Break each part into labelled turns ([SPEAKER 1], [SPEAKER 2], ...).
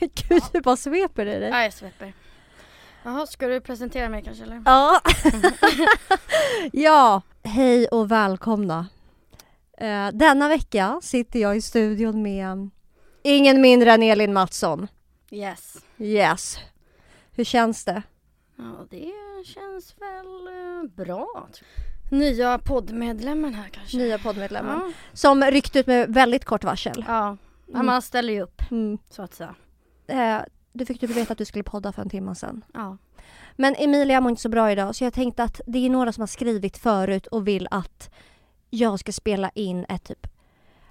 [SPEAKER 1] men gud du bara sveper i dig.
[SPEAKER 2] Ja, jag sveper. Jaha, ska du presentera mig kanske eller?
[SPEAKER 1] Ja. ja, hej och välkomna. Eh, Denna vecka sitter jag i studion med ingen mindre än Elin Mattsson.
[SPEAKER 2] Yes.
[SPEAKER 1] Yes. Hur känns det?
[SPEAKER 2] Ja, det känns väl eh, bra. tror jag. Nya poddmedlemmen här kanske?
[SPEAKER 1] Nya poddmedlemmen.
[SPEAKER 2] Ja.
[SPEAKER 1] Som ryckte ut med väldigt kort varsel.
[SPEAKER 2] ja. Men man ställer ju upp
[SPEAKER 1] Mm.
[SPEAKER 2] så att säga.
[SPEAKER 1] Eh, Du fick ju veta att du skulle podda för en timme sedan.
[SPEAKER 2] Ja.
[SPEAKER 1] Men Emilia mår inte så bra idag så jag tänkte att det är några som har skrivit förut och vill att jag ska spela in ett typ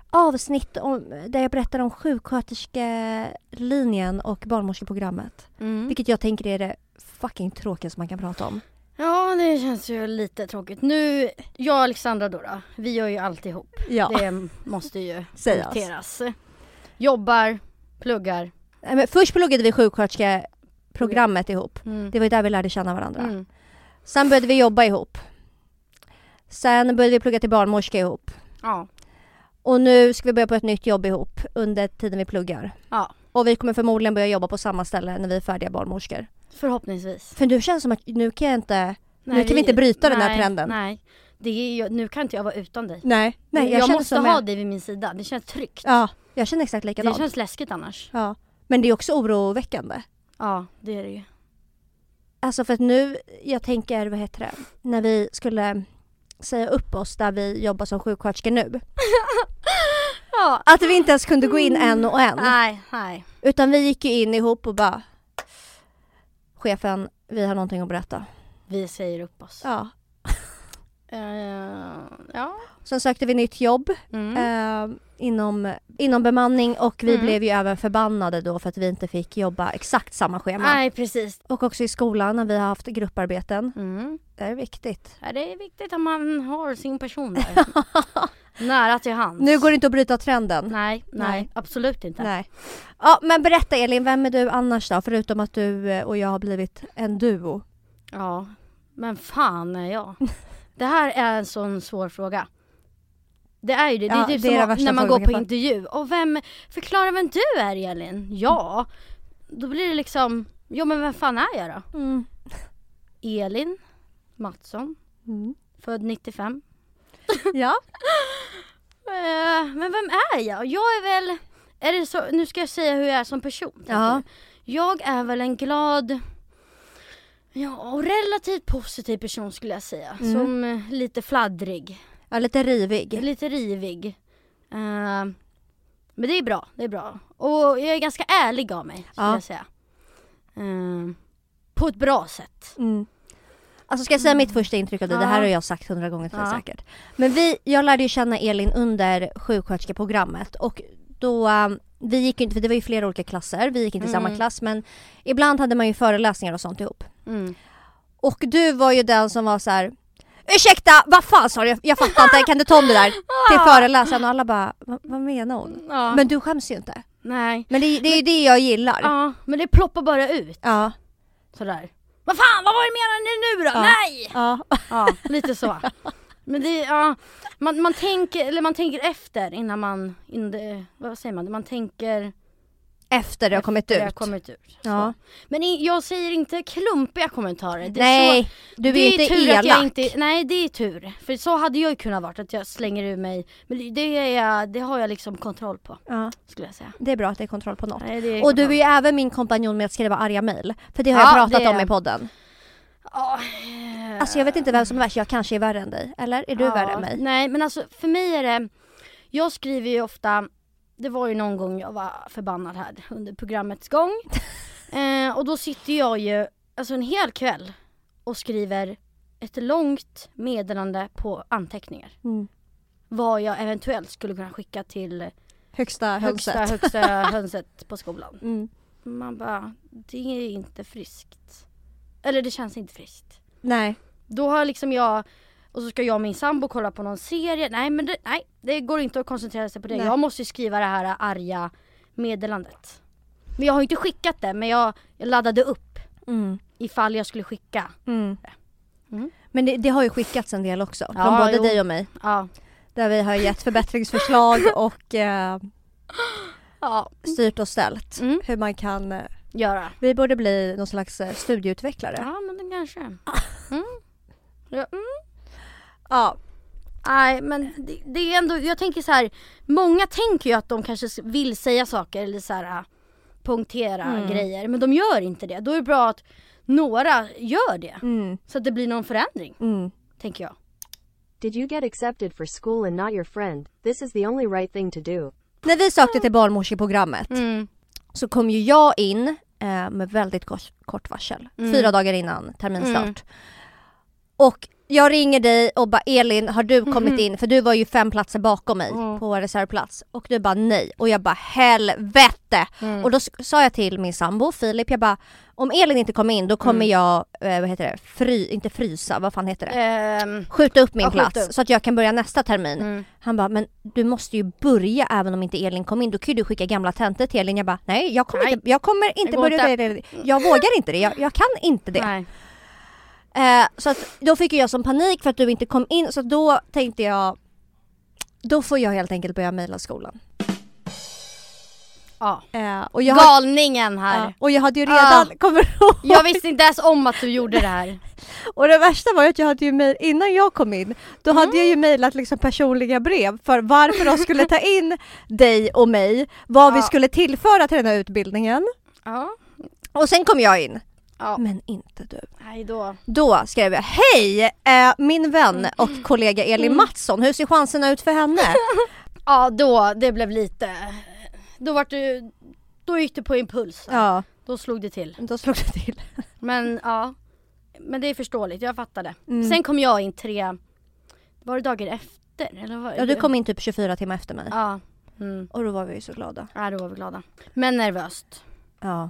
[SPEAKER 1] avsnitt om, där jag berättar om sjuksköterskelinjen och barnmorskeprogrammet.
[SPEAKER 2] Mm.
[SPEAKER 1] Vilket jag tänker är det fucking tråkigaste man kan prata om.
[SPEAKER 2] Ja, det känns ju lite tråkigt. Nu, jag och Alexandra då, då vi gör ju allt ihop.
[SPEAKER 1] Ja,
[SPEAKER 2] Det måste ju
[SPEAKER 1] sägas.
[SPEAKER 2] noteras. Jobbar, pluggar.
[SPEAKER 1] Nej, Men först pluggade vi sjuksköterskeprogrammet ihop.
[SPEAKER 2] Mm.
[SPEAKER 1] Det var ju där vi lärde känna varandra.
[SPEAKER 2] Mm.
[SPEAKER 1] Sen började vi jobba ihop. Sen började vi plugga till barnmorska ihop.
[SPEAKER 2] Ja.
[SPEAKER 1] Och nu ska vi börja på ett nytt jobb ihop under tiden vi pluggar.
[SPEAKER 2] ja,
[SPEAKER 1] Och vi kommer förmodligen börja jobba på samma ställe när vi är färdiga barnmorskor.
[SPEAKER 2] förhoppningsvis.
[SPEAKER 1] För nu känns det som att nu kan jag inte... Nu kan vi inte bryta den här
[SPEAKER 2] nej,
[SPEAKER 1] trenden.
[SPEAKER 2] Nej, det är ju, nu kan inte jag vara utan dig.
[SPEAKER 1] Nej, nej jag,
[SPEAKER 2] jag
[SPEAKER 1] känner
[SPEAKER 2] måste
[SPEAKER 1] som
[SPEAKER 2] ha
[SPEAKER 1] jag,
[SPEAKER 2] dig vid min sida, det känns tryggt.
[SPEAKER 1] Ja, jag känner exakt
[SPEAKER 2] det
[SPEAKER 1] likadant.
[SPEAKER 2] känns läskigt annars.
[SPEAKER 1] Ja. Men det är också oroväckande.
[SPEAKER 2] Ja, det är det ju.
[SPEAKER 1] Alltså för att nu, jag tänker, vad heter det, när vi skulle säga upp oss där vi jobbar som sjuksköterskor nu.
[SPEAKER 2] Ja.
[SPEAKER 1] Att vi inte ens kunde gå in en och en.
[SPEAKER 2] Nej, nej.
[SPEAKER 1] Utan vi gick ju in ihop och bara Chefen, vi har någonting att berätta.
[SPEAKER 2] Vi säger upp oss. Ja.
[SPEAKER 1] Ja.
[SPEAKER 2] ja.
[SPEAKER 1] Sen sökte vi nytt jobb.
[SPEAKER 2] Mm.
[SPEAKER 1] eh, inom, inom bemanning och vi
[SPEAKER 2] Mm.
[SPEAKER 1] blev ju även förbannade då för att vi inte fick jobba exakt samma schema.
[SPEAKER 2] nej, precis.
[SPEAKER 1] Och också i skolan när vi har haft grupparbeten.
[SPEAKER 2] Mm.
[SPEAKER 1] Det är viktigt.
[SPEAKER 2] Ja, det är viktigt att man har sin person där. Nära till hands.
[SPEAKER 1] Nu går det inte att bryta trenden.
[SPEAKER 2] Mm. Nej, nej,
[SPEAKER 1] Nej.
[SPEAKER 2] absolut inte.
[SPEAKER 1] Nej. Ja men berätta Elin, vem är du annars då? Förutom att du eh, och jag har blivit en duo.
[SPEAKER 2] Ja, men fan är jag? Det här är en sån svår fråga. Det är ju det. Det är
[SPEAKER 1] Ja,
[SPEAKER 2] typ
[SPEAKER 1] det är den
[SPEAKER 2] som
[SPEAKER 1] värsta
[SPEAKER 2] när man
[SPEAKER 1] frågan
[SPEAKER 2] går på
[SPEAKER 1] jag
[SPEAKER 2] intervju. Och vem, förklara vem du är Elin. Ja, då blir det liksom, ja men vem fan är jag då?
[SPEAKER 1] Mm.
[SPEAKER 2] Elin Mattsson,
[SPEAKER 1] Mm.
[SPEAKER 2] född 95.
[SPEAKER 1] Ja.
[SPEAKER 2] Eh, men vem är jag? Jag är väl, är det så, nu ska jag säga hur jag är som person. tänker
[SPEAKER 1] Ja.
[SPEAKER 2] du. Jag är väl en glad, ja och relativt positiv person skulle jag säga.
[SPEAKER 1] Mm.
[SPEAKER 2] Som eh, lite fladdrig,
[SPEAKER 1] ja, lite rivig.
[SPEAKER 2] lite rivig. Eh, men det är bra, det är bra. Och jag är ganska ärlig av mig skulle
[SPEAKER 1] Ja.
[SPEAKER 2] jag säga. Eh, på ett bra sätt.
[SPEAKER 1] Mm. Alltså ska jag säga mitt första intryck av dig? Det här
[SPEAKER 2] Mm. Ja.
[SPEAKER 1] har jag sagt hundra gånger till dig
[SPEAKER 2] Ja.
[SPEAKER 1] säkert. Men vi, jag lärde ju känna Elin under sjuksköterskeprogrammet och då, eh, vi gick ju inte, för det var ju flera olika klasser, vi gick inte i samma
[SPEAKER 2] Mm.
[SPEAKER 1] klass men ibland hade man ju föreläsningar och sånt ihop.
[SPEAKER 2] Mm.
[SPEAKER 1] Och du var ju den som var så här. Ursäkta, vad fan sa du? Jag, jag fattar inte, kan du ta om det där? Till föreläsaren och alla bara, "Va- vad menar hon?
[SPEAKER 2] Ja,
[SPEAKER 1] Men du skäms ju inte.
[SPEAKER 2] nej.
[SPEAKER 1] Men det, det är ju det jag gillar.
[SPEAKER 2] Ja, men det ploppar bara ut
[SPEAKER 1] Ja.
[SPEAKER 2] sådär. Vad fan, vad var det menar ni nu då?
[SPEAKER 1] Ja.
[SPEAKER 2] Nej!
[SPEAKER 1] Ja.
[SPEAKER 2] Ja, lite så. Men det, ja, man, man, tänker, eller man tänker efter innan man, in det, vad säger man, man tänker
[SPEAKER 1] Efter det har kommit
[SPEAKER 2] det
[SPEAKER 1] ut.
[SPEAKER 2] har kommit ut. Så.
[SPEAKER 1] Ja.
[SPEAKER 2] Men i, jag säger inte klumpiga kommentarer. Det är så,
[SPEAKER 1] Nej, du är,
[SPEAKER 2] det är
[SPEAKER 1] inte
[SPEAKER 2] tur
[SPEAKER 1] elak.
[SPEAKER 2] att jag inte, nej det är tur. För så hade jag ju kunnat vara, att jag slänger ur mig, men det- det, är, jag- det har jag liksom kontroll på
[SPEAKER 1] Ja.
[SPEAKER 2] skulle jag säga.
[SPEAKER 1] Det är bra att det är kontroll på något.
[SPEAKER 2] Nej, det är
[SPEAKER 1] Och du är
[SPEAKER 2] kontroll.
[SPEAKER 1] ju även min kompanjon med att skriva arga mejl. För det har
[SPEAKER 2] Ja,
[SPEAKER 1] jag pratat
[SPEAKER 2] det-
[SPEAKER 1] om i podden.
[SPEAKER 2] Ja, eh.
[SPEAKER 1] Alltså jag vet inte vem som är värst, jag kanske är värre än dig. Eller? Är du
[SPEAKER 2] Ja,
[SPEAKER 1] värre än mig?
[SPEAKER 2] Nej men alltså för mig är det, jag skriver ju ofta, det var ju någon gång jag var förbannad här under programmets gång. eh, och då sitter jag ju alltså en hel kväll och skriver ett långt meddelande på anteckningar.
[SPEAKER 1] Mm.
[SPEAKER 2] Vad jag eventuellt skulle kunna skicka till
[SPEAKER 1] Högsta hönset.
[SPEAKER 2] högsta, högsta hönset på skolan.
[SPEAKER 1] Mm.
[SPEAKER 2] Man bara, det är inte friskt. Eller det känns inte friskt.
[SPEAKER 1] Nej.
[SPEAKER 2] Då har liksom jag och så ska jag och min sambo kolla på någon serie. Nej men det, nej, det går inte att koncentrera sig på det.
[SPEAKER 1] Nej.
[SPEAKER 2] Jag måste ju skriva det här arga meddelandet. Men jag har ju inte skickat det men jag, jag laddade upp
[SPEAKER 1] Mm.
[SPEAKER 2] ifall jag skulle skicka.
[SPEAKER 1] Mm.
[SPEAKER 2] Mm.
[SPEAKER 1] Men det, det har ju skickats en del också. Från
[SPEAKER 2] Ja,
[SPEAKER 1] både
[SPEAKER 2] jo.
[SPEAKER 1] dig och mig.
[SPEAKER 2] Ja.
[SPEAKER 1] Där vi har gett förbättringsförslag och eh,
[SPEAKER 2] Ja,
[SPEAKER 1] styrt och ställt.
[SPEAKER 2] Mm.
[SPEAKER 1] Hur man kan... eh,
[SPEAKER 2] göra.
[SPEAKER 1] Vi borde bli någon slags eh, studieutvecklare. Ja.
[SPEAKER 2] Ja, men det kanske. Mm. Ja, mm.
[SPEAKER 1] ja.
[SPEAKER 2] Nej, men det, det är ändå, jag tänker så här. Många tänker ju att de kanske s- vill säga saker eller så här äh, punktera
[SPEAKER 1] Mm.
[SPEAKER 2] grejer. Men de gör inte det. Då är det bra att några gör det.
[SPEAKER 1] Mm,
[SPEAKER 2] Så att det blir någon förändring,
[SPEAKER 1] mm.
[SPEAKER 2] tänker jag.
[SPEAKER 3] Did you get accepted for school and not your friend? This is the only right thing to do.
[SPEAKER 1] När vi sökte till barnmorskeprogrammet
[SPEAKER 2] Mm.
[SPEAKER 1] så kom ju jag in eh, med väldigt kort, kort varsel.
[SPEAKER 2] Mm.
[SPEAKER 1] Fyra dagar innan terminstart.
[SPEAKER 2] Mm.
[SPEAKER 1] Och jag ringer dig och bara Elin har du kommit in? För du var ju fem platser bakom mig
[SPEAKER 2] Mm.
[SPEAKER 1] på reservplats. Och du bara nej. Och jag bara helvete!
[SPEAKER 2] Mm.
[SPEAKER 1] Och då s- sa jag till min sambo Filip, jag bara om Elin inte kommer in då kommer
[SPEAKER 2] Mm.
[SPEAKER 1] jag, eh, vad heter det, fry, inte frysa, vad fan heter det?
[SPEAKER 2] Ehm,
[SPEAKER 1] Skjuta upp min
[SPEAKER 2] Ja, skjuta
[SPEAKER 1] plats
[SPEAKER 2] upp.
[SPEAKER 1] så att jag kan börja nästa termin.
[SPEAKER 2] mm.
[SPEAKER 1] Han bara, men du måste ju börja även om inte Elin kom in. Då kan ju du skicka gamla tentor till Elin. Jag bara, nej jag kommer
[SPEAKER 2] Nej.
[SPEAKER 1] inte, jag kommer inte
[SPEAKER 2] går
[SPEAKER 1] börja. Jag vågar inte det. Jag, jag kan inte det.
[SPEAKER 2] Nej.
[SPEAKER 1] Eh, så att då fick ju jag som panik för att du inte kom in. Så då tänkte jag, då får jag helt enkelt börja mejla skolan.
[SPEAKER 2] Ja.
[SPEAKER 1] Eh, och, jag hade,
[SPEAKER 2] Galningen här.
[SPEAKER 1] ja, och jag hade ju redan, kommer du ihåg?
[SPEAKER 2] Jag visste inte ens om att du gjorde det här.
[SPEAKER 1] Och det värsta var ju att jag hade ju mejl, innan jag kom in, då hade
[SPEAKER 2] Mm.
[SPEAKER 1] jag ju mejlat liksom personliga brev för varför de skulle ta in dig och mig, vad vi
[SPEAKER 2] Ja.
[SPEAKER 1] skulle tillföra till den här utbildningen.
[SPEAKER 2] Ja.
[SPEAKER 1] Och sen kom jag in.
[SPEAKER 2] Ja.
[SPEAKER 1] Men inte du.
[SPEAKER 2] Nej då.
[SPEAKER 1] Då skrev jag Hej! Eh, min
[SPEAKER 2] Mm.
[SPEAKER 1] vän och kollega Elin Mattsson, hur ser chanserna ut för henne?
[SPEAKER 2] Ja då, det blev lite. Då vart du, då gick du på impuls.
[SPEAKER 1] Ja,
[SPEAKER 2] Då slog det till.
[SPEAKER 1] då slog det till.
[SPEAKER 2] Men ja. Men det är förståeligt, jag fattade.
[SPEAKER 1] Mm.
[SPEAKER 2] Sen kom jag in tre, var det dagar efter? Eller var det?
[SPEAKER 1] Ja, du kom in typ 24 timmar efter mig.
[SPEAKER 2] Ja. Mm.
[SPEAKER 1] Och då var vi ju så glada.
[SPEAKER 2] ja, då var vi glada. Men nervöst.
[SPEAKER 1] Ja.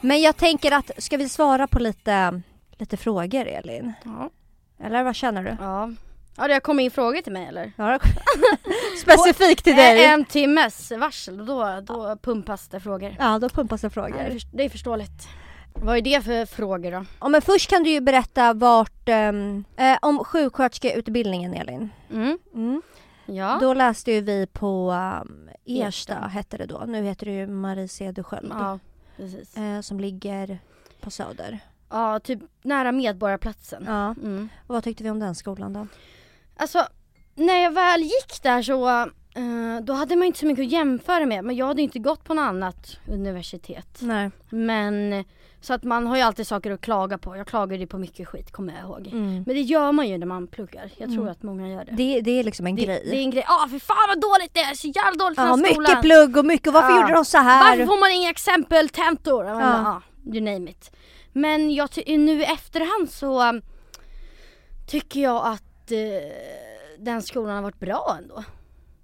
[SPEAKER 1] Men jag tänker att, ska vi svara på lite, lite frågor Elin?
[SPEAKER 2] Ja.
[SPEAKER 1] Eller vad känner du?
[SPEAKER 2] Ja. Ja, det kom in frågor till mig eller?
[SPEAKER 1] Ja, då- Specifikt till
[SPEAKER 2] Ä-
[SPEAKER 1] dig?
[SPEAKER 2] En timmes varsel, då, då pumpas det frågor.
[SPEAKER 1] Ja, då pumpas det
[SPEAKER 2] Ja, det, är
[SPEAKER 1] frågor.
[SPEAKER 2] först- det är förståeligt. Vad är det för frågor då?
[SPEAKER 1] Ja, men först kan du ju berätta vart, ehm, eh, om sjuksköterskeutbildningen Elin.
[SPEAKER 2] Mm.
[SPEAKER 1] Mm.
[SPEAKER 2] Ja.
[SPEAKER 1] Då läste ju vi på ehm, Ersta
[SPEAKER 2] Ersta.
[SPEAKER 1] hette det då, nu heter det ju Marie Cederschiöld
[SPEAKER 2] ja, precis.
[SPEAKER 1] eh, som ligger på Söder.
[SPEAKER 2] Ja, typ nära Medborgarplatsen.
[SPEAKER 1] Ja.
[SPEAKER 2] Mm.
[SPEAKER 1] Och vad tyckte vi om den skolan då?
[SPEAKER 2] Alltså, när jag väl gick där så eh, då hade man inte så mycket att jämföra med. Men jag hade ju inte gått på något annat universitet.
[SPEAKER 1] Nej.
[SPEAKER 2] Men så att man har ju alltid saker att klaga på. Jag klagade ju på mycket skit kommer jag ihåg.
[SPEAKER 1] Mm.
[SPEAKER 2] Men det gör man ju när man pluggar. Jag tror
[SPEAKER 1] Mm.
[SPEAKER 2] att många gör det.
[SPEAKER 1] Det, det är liksom en
[SPEAKER 2] det,
[SPEAKER 1] grej.
[SPEAKER 2] det är en grej. Ja, för fan vad dåligt det är! Så jävla dåligt för
[SPEAKER 1] ja,
[SPEAKER 2] den här
[SPEAKER 1] mycket
[SPEAKER 2] skolan.
[SPEAKER 1] plugg och mycket, varför
[SPEAKER 2] Ja.
[SPEAKER 1] gjorde de så
[SPEAKER 2] Varför
[SPEAKER 1] här?
[SPEAKER 2] får man inga exempeltentor? Ja.
[SPEAKER 1] Ja.
[SPEAKER 2] Ja, you name it. Men jag ty- nu i efterhand så um, tycker jag att eh, den skolan har varit bra ändå.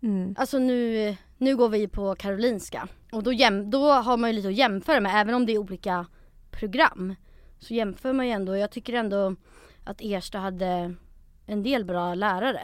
[SPEAKER 1] Mm.
[SPEAKER 2] Alltså nu, nu går vi på Karolinska och då, jäm- då har man ju lite att jämföra med även om det är olika program. Så jämför man ju ändå. Jag tycker ändå att Ersta hade en del bra lärare.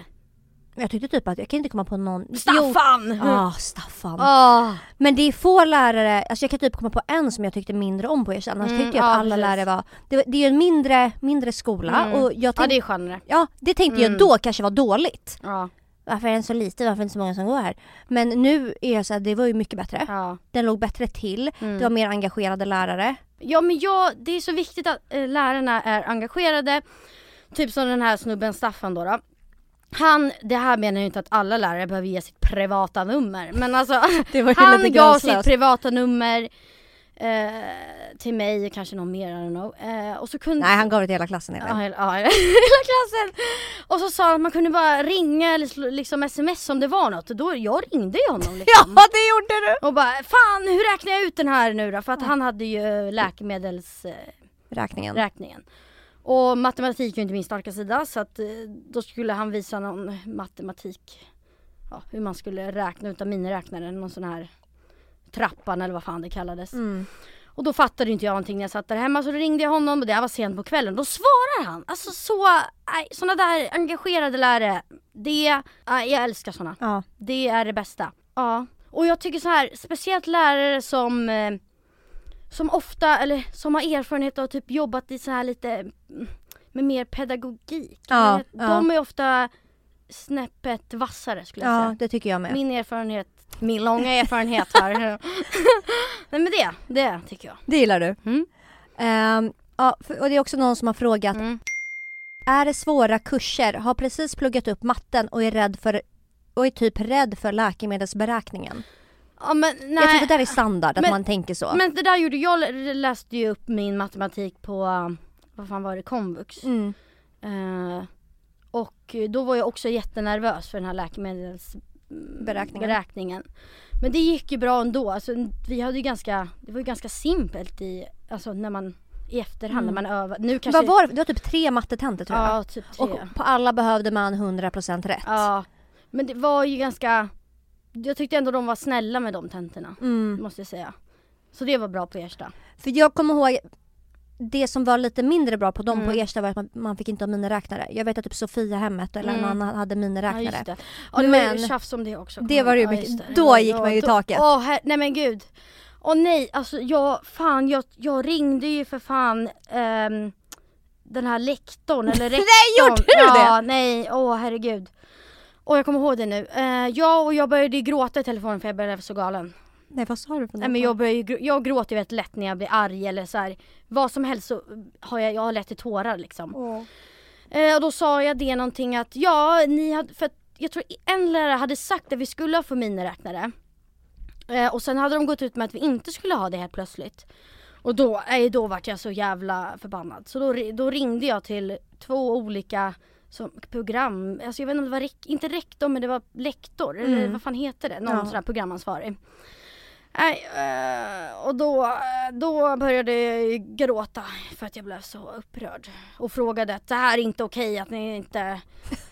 [SPEAKER 1] Jag tyckte typ att, jag kan inte komma på någon... Jo.
[SPEAKER 2] Staffan!
[SPEAKER 1] Ja, Staffan.
[SPEAKER 2] Ah.
[SPEAKER 1] Men det är få lärare, alltså jag kan typ komma på en som jag tyckte mindre om på er annars
[SPEAKER 2] Mm,
[SPEAKER 1] tyckte jag att
[SPEAKER 2] ja,
[SPEAKER 1] alla
[SPEAKER 2] precis.
[SPEAKER 1] lärare var, det, var- det är ju en mindre, mindre skola
[SPEAKER 2] Mm.
[SPEAKER 1] och jag
[SPEAKER 2] Ja
[SPEAKER 1] tänkte,
[SPEAKER 2] det är skönare.
[SPEAKER 1] ja det tänkte jag
[SPEAKER 2] Mm.
[SPEAKER 1] då kanske var dåligt.
[SPEAKER 2] Ja.
[SPEAKER 1] Varför är den så liten, varför är det inte så många som går här? Men nu är jag såhär, det var ju mycket bättre.
[SPEAKER 2] ja.
[SPEAKER 1] Den låg bättre till,
[SPEAKER 2] Mm.
[SPEAKER 1] det var mer engagerade lärare.
[SPEAKER 2] Ja men jag, det är så viktigt att eh, lärarna är engagerade. Typ som den här snubben Staffan då. då. Han, det här menar ju inte att alla lärare behöver ge sitt privata nummer. Men alltså
[SPEAKER 1] Det var
[SPEAKER 2] han gav sitt privata nummer eh, till mig och kanske någon mer, I don't know. Eh, och så kunde...
[SPEAKER 1] Nej han gav det till hela klassen
[SPEAKER 2] Ja,
[SPEAKER 1] Elin.
[SPEAKER 2] hela, ja, hela klassen! Och så sa han att man kunde bara ringa eller sl- liksom sms om det var något. Och då, jag ringde ju honom
[SPEAKER 1] Ja
[SPEAKER 2] liksom.
[SPEAKER 1] det gjorde du!
[SPEAKER 2] Och bara fan hur räknar jag ut den här nu då? För att han hade ju läkemedels... Eh,
[SPEAKER 1] Räkningen.
[SPEAKER 2] räkningen. Och matematik är ju inte min starka sida så att eh, då skulle han visa någon matematik. Ja, hur man skulle räkna utan miniräknaren, någon sån här trappan eller vad fan det kallades.
[SPEAKER 1] Mm.
[SPEAKER 2] Och då fattade inte jag någonting när jag satt där hemma så då ringde jag honom och det här var sent på kvällen. Då svarar han! Alltså så, nej, såna där engagerade lärare. Det, nej, jag älskar såna.
[SPEAKER 1] Ja.
[SPEAKER 2] Det är det bästa. Ja. Och jag tycker så här, speciellt lärare som eh, som ofta, eller som har erfarenhet och typ jobbat i så här lite mm, med mer pedagogik.
[SPEAKER 1] Ja,
[SPEAKER 2] de är ofta snäppet vassare skulle jag
[SPEAKER 1] Ja,
[SPEAKER 2] säga.
[SPEAKER 1] det tycker jag med.
[SPEAKER 2] Min erfarenhet, min långa erfarenhet här. Nej men det, det tycker jag.
[SPEAKER 1] Det gillar du?
[SPEAKER 2] Mm.
[SPEAKER 1] Ehm, ja, för, och det är också någon som har frågat,
[SPEAKER 2] Mm.
[SPEAKER 1] är det svåra kurser? Har precis pluggat upp matten och är rädd för och är typ rädd för läkemedelsberäkningen.
[SPEAKER 2] Ja, men, nej.
[SPEAKER 1] Jag tror det där är standard, att
[SPEAKER 2] Men-
[SPEAKER 1] man tänker så.
[SPEAKER 2] Men det där gjorde jag, lä- läste ju upp min matematik på, um, vad fan var det, komvux.
[SPEAKER 1] mm.
[SPEAKER 2] Eh, och då var jag också jättenervös för den här läkemedelsberäkningen.
[SPEAKER 1] Beräkningen.
[SPEAKER 2] Beräkningen. Men det gick ju bra ändå. Alltså, vi hade ju ganska, det var ju ganska simpelt i, alltså när man i efterhand när man övar. Nu kanske...
[SPEAKER 1] Mm. Vad var det? Det var typ tre mattetentor tror jag.
[SPEAKER 2] Ja, typ tre.
[SPEAKER 1] Och på alla behövde man 100% rätt.
[SPEAKER 2] Ja. Men det var ju ganska, jag tyckte ändå de var snälla med de tentorna.
[SPEAKER 1] Mm.
[SPEAKER 2] Måste jag säga. Så det var bra på Ersta.
[SPEAKER 1] För jag kommer ihåg det som var lite mindre bra på dem
[SPEAKER 2] Mm.
[SPEAKER 1] på Ersta var att man, man fick inte ha miniräknare. Jag vet att typ Sofiahemmet eller
[SPEAKER 2] Mm.
[SPEAKER 1] någon annan hade
[SPEAKER 2] Ja
[SPEAKER 1] miniräknare.
[SPEAKER 2] just det. Ja, det men, var ju
[SPEAKER 1] Men-
[SPEAKER 2] tjafs om det också.
[SPEAKER 1] Det var det ju
[SPEAKER 2] Ja,
[SPEAKER 1] mycket-
[SPEAKER 2] just det.
[SPEAKER 1] då gick man ju i
[SPEAKER 2] då-
[SPEAKER 1] taket.
[SPEAKER 2] Åh her- nej men gud. Åh nej, alltså jag, fan jag, jag ringde ju för fan ehm, den här lektorn eller rektorn. nej
[SPEAKER 1] gjorde du
[SPEAKER 2] ja,
[SPEAKER 1] det?
[SPEAKER 2] Ja nej, åh herregud. Och jag kommer ihåg det nu. Eh, jag och jag började ju gråta i telefonen för jag började bli så galen.
[SPEAKER 1] Nej vad sa du? för
[SPEAKER 2] Nej men
[SPEAKER 1] något?
[SPEAKER 2] jag, börjar ju, grå- jag gråter ju väldigt lätt när jag blir arg eller så här. Vad som helst så har jag, jag har lätt till tårar liksom.
[SPEAKER 1] Åh.
[SPEAKER 2] Eh, och då sa jag det någonting att ja, ni hade, för att jag tror en lärare hade sagt att vi skulle ha få miniräknare. Eh, och sen hade de gått ut med att vi inte skulle ha det helt plötsligt. Och då, eh, då vart jag så jävla förbannad. Så då, ri- då ringde jag till två olika som, program, alltså jag vet inte om det var, rek, inte rektor men det var lektor, eller
[SPEAKER 1] Mm.
[SPEAKER 2] vad fan heter det? Någon
[SPEAKER 1] Ja.
[SPEAKER 2] sån här programansvarig. Nej, eh, och då, då började jag ju gråta för att jag blev så upprörd. Och frågade att det här är inte okej att ni inte,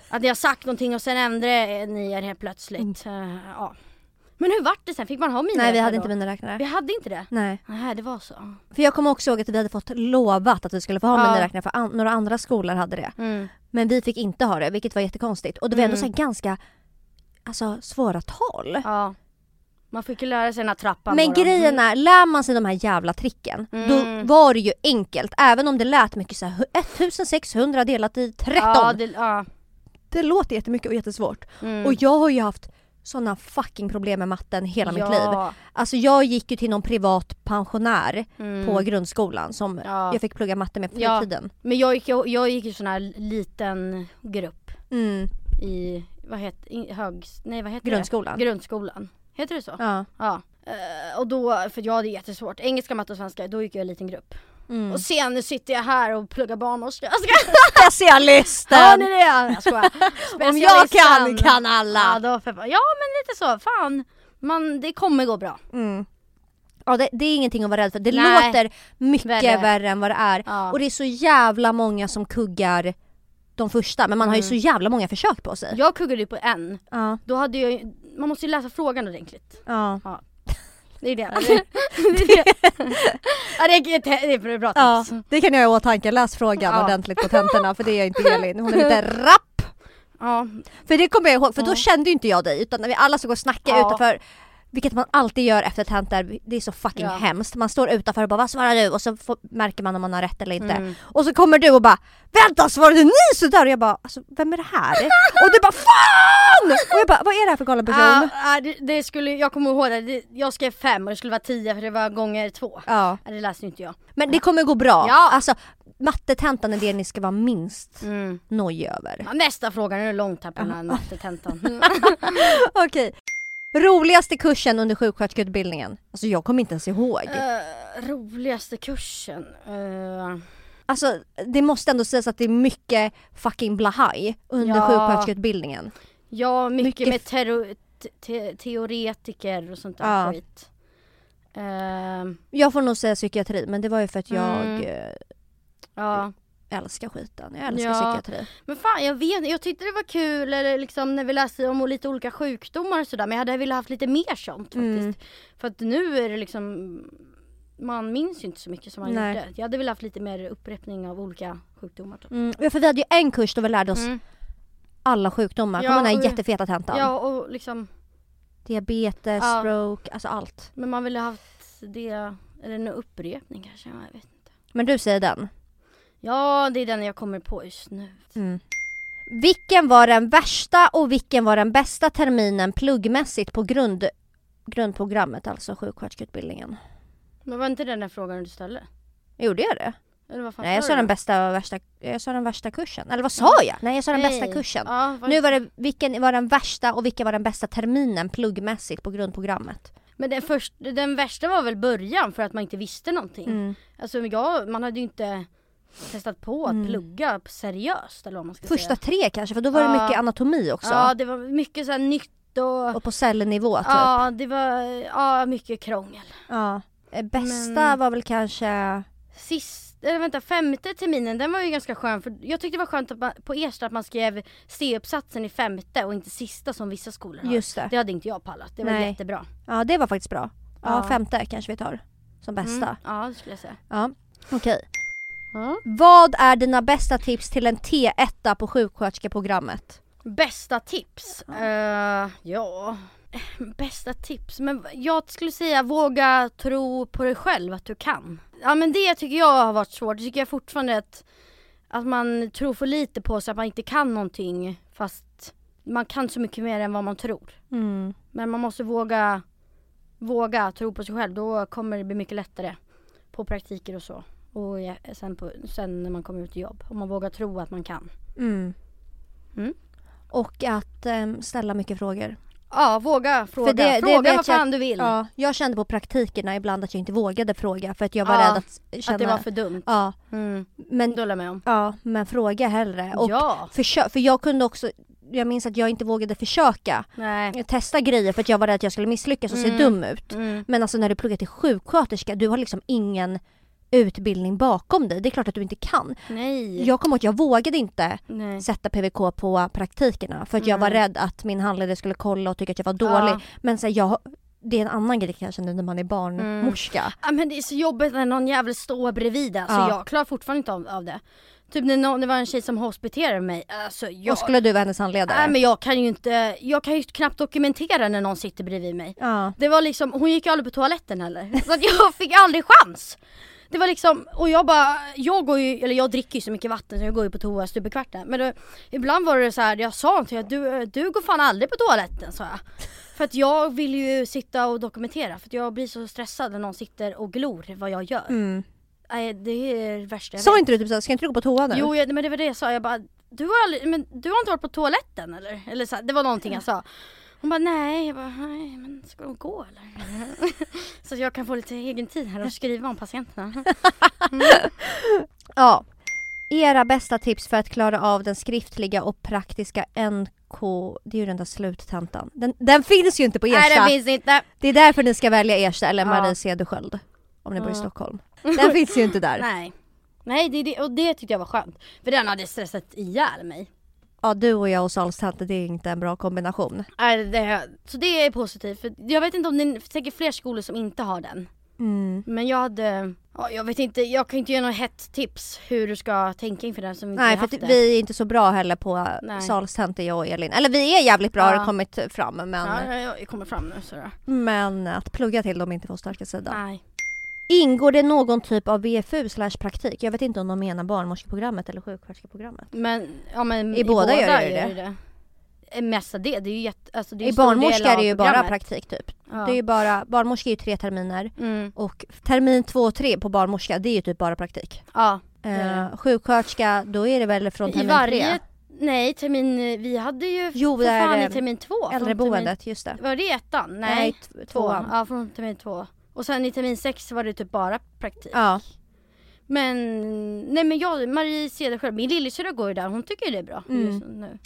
[SPEAKER 2] att ni har sagt någonting och sen ändrade ni er helt plötsligt. Eh, ja. Men hur vart det sen? Fick man ha miniräknare
[SPEAKER 1] Mm. Nej vi hade
[SPEAKER 2] då?
[SPEAKER 1] inte miniräknare.
[SPEAKER 2] Vi hade inte det?
[SPEAKER 1] Nej.
[SPEAKER 2] Nej, det var så.
[SPEAKER 1] För jag kommer också ihåg att vi hade fått lovat att vi skulle få ha
[SPEAKER 2] Ja.
[SPEAKER 1] miniräknare för an- några andra skolor hade det.
[SPEAKER 2] Mm.
[SPEAKER 1] Men vi fick inte ha det vilket var jättekonstigt. Och det var ändå så här ganska alltså, svåra tal.
[SPEAKER 2] Ja. Man fick ju lära sig den här trappan
[SPEAKER 1] Men
[SPEAKER 2] bara.
[SPEAKER 1] grejen är, lär man sig de här jävla tricken
[SPEAKER 2] Mm.
[SPEAKER 1] då var det ju enkelt. Även om det lät mycket så här 1600 delat i 13.
[SPEAKER 2] Ja,
[SPEAKER 1] det...
[SPEAKER 2] det, ja.
[SPEAKER 1] låter jättemycket och jättesvårt.
[SPEAKER 2] Mm.
[SPEAKER 1] Och jag har ju haft såna fucking problem med matten hela mitt liv.
[SPEAKER 2] Ja.
[SPEAKER 1] Alltså jag gick ju till någon privat pensionär
[SPEAKER 2] Mm.
[SPEAKER 1] på grundskolan som
[SPEAKER 2] Ja.
[SPEAKER 1] jag fick plugga matte med på
[SPEAKER 2] Ja.
[SPEAKER 1] fritiden.
[SPEAKER 2] Men jag gick, jag, jag gick i sån här liten grupp
[SPEAKER 1] Mm,
[SPEAKER 2] i, vad heter, i högs, nej vad heter det?
[SPEAKER 1] grundskolan.
[SPEAKER 2] Grundskolan. Heter det så?
[SPEAKER 1] ja.
[SPEAKER 2] Ja. Eh, och då, för jag hade jättesvårt, engelska, matte och svenska, då gick jag i en liten grupp.
[SPEAKER 1] Mm.
[SPEAKER 2] Och sen nu sitter jag här och pluggar barnmorska. Jag ska,
[SPEAKER 1] Specialisten!
[SPEAKER 2] hör ni det? Jag skojar.
[SPEAKER 1] Om jag kan,
[SPEAKER 2] Specialisten.
[SPEAKER 1] kan
[SPEAKER 2] Ja,
[SPEAKER 1] alla!
[SPEAKER 2] då för, ja men lite så, fan. Man, det kommer gå bra.
[SPEAKER 1] Mm. Ja, det, det är ingenting att vara rädd för. Det
[SPEAKER 2] Nej.
[SPEAKER 1] låter mycket
[SPEAKER 2] Värre.
[SPEAKER 1] värre. än vad det är.
[SPEAKER 2] Ja.
[SPEAKER 1] Och det är så jävla många som kuggar de första men man har ju
[SPEAKER 2] Mm.
[SPEAKER 1] så jävla många försök på sig.
[SPEAKER 2] Jag kuggade ju på en,
[SPEAKER 1] Ja.
[SPEAKER 2] då hade jag ju- man måste ju läsa frågan ordentligt.
[SPEAKER 1] Ja.
[SPEAKER 2] Det är det. det, är det. Ja, det, är, det är ett bra
[SPEAKER 1] ja,
[SPEAKER 2] tips.
[SPEAKER 1] det kan jag ha i åtanke. Läs frågan
[SPEAKER 2] Alltså. Ja.
[SPEAKER 1] ordentligt på tentorna för det är inte Elin. Hon är lite rapp.
[SPEAKER 2] Ja.
[SPEAKER 1] För det kommer jag ihåg för då kände ju inte jag dig utan när vi alla skulle gå och snacka
[SPEAKER 2] Ja.
[SPEAKER 1] utanför vilket man alltid gör efter tentor, det är så fucking
[SPEAKER 2] Ja.
[SPEAKER 1] hemskt. Man står utanför och bara vad svarar du? Och så får, märker man om man har rätt eller inte.
[SPEAKER 2] Mm.
[SPEAKER 1] Och så kommer du och bara vänta svarade ni sådär? Och jag bara alltså, vem är det här? och du bara FAN! Och jag bara vad är det här för galen person?
[SPEAKER 2] Ja, ja, det, det skulle, jag kommer ihåg det, det, jag skrev fem och det skulle vara tio för det var gånger två.
[SPEAKER 1] Ja.
[SPEAKER 2] Ja, det läste ju inte jag.
[SPEAKER 1] Men det kommer gå bra.
[SPEAKER 2] Ja.
[SPEAKER 1] Alltså mattetentan är det ni ska vara minst
[SPEAKER 2] Mm.
[SPEAKER 1] nojig över.
[SPEAKER 2] Ja, Nästa fråga, nu är det långt här Mm. på den här mattetentan.
[SPEAKER 1] Okej. Roligaste kursen under sjuksköterskeutbildningen? Alltså jag kommer inte ens ihåg.
[SPEAKER 2] Eh, roligaste kursen? Eh,
[SPEAKER 1] Alltså det måste ändå sägas att det är mycket fucking blahaj under
[SPEAKER 2] Ja.
[SPEAKER 1] sjuksköterskeutbildningen.
[SPEAKER 2] ja, mycket,
[SPEAKER 1] Mycket
[SPEAKER 2] med terro- te- te- teoretiker och sånt där
[SPEAKER 1] Ja.
[SPEAKER 2] skit. Eh,
[SPEAKER 1] Jag får nog säga psykiatri men det var ju för att jag
[SPEAKER 2] Mm.
[SPEAKER 1] eh,
[SPEAKER 2] ja.
[SPEAKER 1] älskar skiten. Jag älskar
[SPEAKER 2] Ja.
[SPEAKER 1] psykiatri.
[SPEAKER 2] Men fan jag vet jag tyckte det var kul eller liksom när vi läste om lite olika sjukdomar och sådär men jag hade velat haft lite mer sånt faktiskt.
[SPEAKER 1] Mm.
[SPEAKER 2] För att nu är det liksom man minns ju inte så mycket som man
[SPEAKER 1] Nej.
[SPEAKER 2] gjorde. Jag hade velat haft lite mer upprepning av olika sjukdomar. Typ.
[SPEAKER 1] Mm. Ja, för vi hade ju en kurs då vi lärde oss
[SPEAKER 2] Mm.
[SPEAKER 1] alla sjukdomar.
[SPEAKER 2] Ja,
[SPEAKER 1] Kommer du ihåg den
[SPEAKER 2] och-
[SPEAKER 1] här jättefeta tentan?
[SPEAKER 2] Ja och liksom,
[SPEAKER 1] Diabetes,
[SPEAKER 2] Ja.
[SPEAKER 1] stroke, alltså allt.
[SPEAKER 2] men man ville haft det, eller en upprepning kanske, ja, jag vet inte.
[SPEAKER 1] Men du säger den.
[SPEAKER 2] Ja det är den jag kommer på just nu.
[SPEAKER 1] Mm. Vilken var den värsta och vilken var den bästa terminen pluggmässigt på grund, grundprogrammet, alltså sjuksköterskeutbildningen?
[SPEAKER 2] Men var inte den där frågan du ställde?
[SPEAKER 1] Gjorde jag det?
[SPEAKER 2] Eller vad fan
[SPEAKER 1] Nej jag sa
[SPEAKER 2] du
[SPEAKER 1] den
[SPEAKER 2] då?
[SPEAKER 1] bästa och värsta, jag sa den värsta kursen. Eller vad sa jag? Nej jag sa den
[SPEAKER 2] Nej.
[SPEAKER 1] bästa kursen.
[SPEAKER 2] Ja, vad-
[SPEAKER 1] Nu var det, vilken var den värsta och vilken var den bästa terminen pluggmässigt på grundprogrammet?
[SPEAKER 2] Men den, först, den värsta var väl början för att man inte visste någonting.
[SPEAKER 1] Mm.
[SPEAKER 2] Alltså jag, man hade ju inte testat på att plugga seriöst eller vad man ska
[SPEAKER 1] Mm. Första
[SPEAKER 2] säga.
[SPEAKER 1] tre kanske för då var det
[SPEAKER 2] Ja.
[SPEAKER 1] mycket anatomi också.
[SPEAKER 2] Ja det var mycket så här nytt och,
[SPEAKER 1] Och på cellnivå typ.
[SPEAKER 2] ja det var ja, mycket krångel.
[SPEAKER 1] Ja. Eh, Bästa
[SPEAKER 2] Men-
[SPEAKER 1] var väl kanske...
[SPEAKER 2] Sist, eller vänta, femte terminen den var ju ganska skön för jag tyckte det var skönt att man, på Ersta att man skrev C-uppsatsen i femte och inte sista som vissa skolor har.
[SPEAKER 1] Just det.
[SPEAKER 2] Det hade inte jag pallat, det var
[SPEAKER 1] Nej.
[SPEAKER 2] jättebra.
[SPEAKER 1] Ja det var faktiskt bra. Ja,
[SPEAKER 2] Ja.
[SPEAKER 1] femte kanske vi tar som bästa.
[SPEAKER 2] Mm. Ja det skulle jag säga.
[SPEAKER 1] Ja. Okej. Vad är dina bästa tips till en T1 på sjuksköterskeprogrammet?
[SPEAKER 2] Bästa tips? Eh, ja, bästa tips. Men jag skulle säga våga tro på dig själv att du kan. Ja men det tycker jag har varit svårt. Det tycker jag fortfarande att, att man tror för lite på sig att man inte kan någonting fast man kan så mycket mer än vad man tror. Men man måste våga, våga tro på sig själv. Då kommer det bli mycket lättare på praktiker och så. Och ja, sen, på, sen när man kommer ut i jobb. Om man vågar tro att man kan.
[SPEAKER 1] Mm.
[SPEAKER 2] Mm.
[SPEAKER 1] Och att ehm, ställa mycket frågor.
[SPEAKER 2] Ja, våga fråga.
[SPEAKER 1] det- det
[SPEAKER 2] fråga
[SPEAKER 1] vet
[SPEAKER 2] vad fan
[SPEAKER 1] jag-
[SPEAKER 2] du vill.
[SPEAKER 1] Ja, jag kände på praktikerna ibland att jag inte vågade fråga för att jag var
[SPEAKER 2] Ja,
[SPEAKER 1] rädd att känna...
[SPEAKER 2] Att det var för dumt.
[SPEAKER 1] Ja,
[SPEAKER 2] Mm.
[SPEAKER 1] men,
[SPEAKER 2] Då håller jag med om.
[SPEAKER 1] ja, men fråga hellre. Och
[SPEAKER 2] ja.
[SPEAKER 1] försö- för jag kunde också, jag minns att jag inte vågade försöka
[SPEAKER 2] Nej.
[SPEAKER 1] testa grejer för att jag var rädd att jag skulle misslyckas och se
[SPEAKER 2] Mm.
[SPEAKER 1] dum ut.
[SPEAKER 2] Mm.
[SPEAKER 1] Men alltså när du pluggar till sjuksköterska, du har liksom ingen utbildning bakom dig. Det är klart att du inte kan.
[SPEAKER 2] Nej.
[SPEAKER 1] Jag kommer ihåg att jag vågade inte
[SPEAKER 2] Nej.
[SPEAKER 1] sätta PVK på praktikerna för att jag var
[SPEAKER 2] Mm.
[SPEAKER 1] rädd att min handledare skulle kolla och tycka att jag var dålig.
[SPEAKER 2] Ja.
[SPEAKER 1] Men så här, jag, det är en annan grej kanske nu när man är barnmorska.
[SPEAKER 2] Ja, men det är så jobbigt när någon jävel står bredvid alltså,
[SPEAKER 1] Ja.
[SPEAKER 2] jag klarar fortfarande inte av, av det. Typ när någon, det var en tjej som hospiterade mig. Alltså, jag,
[SPEAKER 1] Och skulle du vara hennes handledare?
[SPEAKER 2] nej, men jag kan ju inte, jag kan ju knappt dokumentera när någon sitter bredvid mig.
[SPEAKER 1] Ja.
[SPEAKER 2] Det var liksom, hon gick ju aldrig på toaletten heller. Så att jag fick aldrig chans. Det var liksom, och jag bara, jag går ju, eller jag dricker ju så mycket vatten så jag går ju på toa stup i kvarten. Men då, ibland var det så här, jag sa till henne, du, du går fan aldrig på toaletten sa jag. För att jag vill ju sitta och dokumentera för att jag blir så stressad när någon sitter och glor vad jag gör.
[SPEAKER 1] Mm.
[SPEAKER 2] Nej, det är det värsta jag
[SPEAKER 1] Sa inte du typ såhär, ska inte du gå på toa nu?
[SPEAKER 2] Jo jag, men det var det jag sa, jag bara du har, aldrig, men du har inte varit på toaletten eller? eller så, här, det var någonting jag sa. Hon bara nej, jag bara nej men ska de gå eller? så jag kan få lite egen tid här och skriva om patienterna.
[SPEAKER 1] Ja. Era bästa tips för att klara av den skriftliga och praktiska NK, det är ju den där sluttentan. Den, den finns ju inte på
[SPEAKER 2] nej
[SPEAKER 1] Ersta.
[SPEAKER 2] det finns inte.
[SPEAKER 1] Det är därför ni ska välja Ersta eller
[SPEAKER 2] Ja.
[SPEAKER 1] Marie Cederschiöld. Om ni bor i
[SPEAKER 2] Ja.
[SPEAKER 1] Stockholm. Den finns ju inte där.
[SPEAKER 2] Nej. Nej det, det, och det tyckte jag var skönt. För den hade stressat ihjäl mig.
[SPEAKER 1] Ja, du och jag och salstanten, det är inte en bra kombination.
[SPEAKER 2] Nej, det, så det är positivt. För jag vet inte om det är säkert fler skolor som inte har den.
[SPEAKER 1] Mm.
[SPEAKER 2] Men jag hade, ja, jag vet inte, jag kan inte ge något hett tips hur du ska tänka inför den som inte
[SPEAKER 1] Nej,
[SPEAKER 2] har
[SPEAKER 1] för
[SPEAKER 2] haft
[SPEAKER 1] att
[SPEAKER 2] det.
[SPEAKER 1] vi är inte så bra heller på
[SPEAKER 2] Nej.
[SPEAKER 1] salstanten, jag och Elin. Eller vi är jävligt bra har det
[SPEAKER 2] Ja.
[SPEAKER 1] kommit fram men,
[SPEAKER 2] Ja, jag, jag kommer fram nu så då.
[SPEAKER 1] men att plugga till dem är inte vår starka sida.
[SPEAKER 2] Nej.
[SPEAKER 1] Ingår det någon typ av VFU slash praktik? Jag vet inte om de menar barnmorskeprogrammet eller sjuksköterskeprogrammet.
[SPEAKER 2] Men, ja, men
[SPEAKER 1] I båda gör det det.
[SPEAKER 2] det. Eh, Mesta det, det är ju jätte, alltså det är
[SPEAKER 1] I
[SPEAKER 2] en stor del
[SPEAKER 1] barnmorska
[SPEAKER 2] av
[SPEAKER 1] är det ju bara
[SPEAKER 2] programmet.
[SPEAKER 1] praktik typ.
[SPEAKER 2] Ja.
[SPEAKER 1] Det är ju bara, barnmorska är ju tre terminer
[SPEAKER 2] mm.
[SPEAKER 1] och termin två och tre på barnmorska det är ju typ bara praktik.
[SPEAKER 2] ja.
[SPEAKER 1] Eh, sjuksköterska då är det väl från
[SPEAKER 2] I
[SPEAKER 1] termin
[SPEAKER 2] varje,
[SPEAKER 1] tre?
[SPEAKER 2] nej termin, vi hade ju
[SPEAKER 1] Jo,
[SPEAKER 2] för
[SPEAKER 1] det är,
[SPEAKER 2] fan i
[SPEAKER 1] eh,
[SPEAKER 2] termin två. från
[SPEAKER 1] Äldreboendet, just det.
[SPEAKER 2] Termin, var det ettan? Nej,
[SPEAKER 1] t-
[SPEAKER 2] tvåan.
[SPEAKER 1] tvåan.
[SPEAKER 2] Ja från termin två. Och sen i termin sex var det typ bara praktik.
[SPEAKER 1] Ja.
[SPEAKER 2] Men, nej men jag, Marie Cederschiöld, min lillasyrra går ju där, hon tycker ju det är bra
[SPEAKER 1] Mm.
[SPEAKER 2] just nu.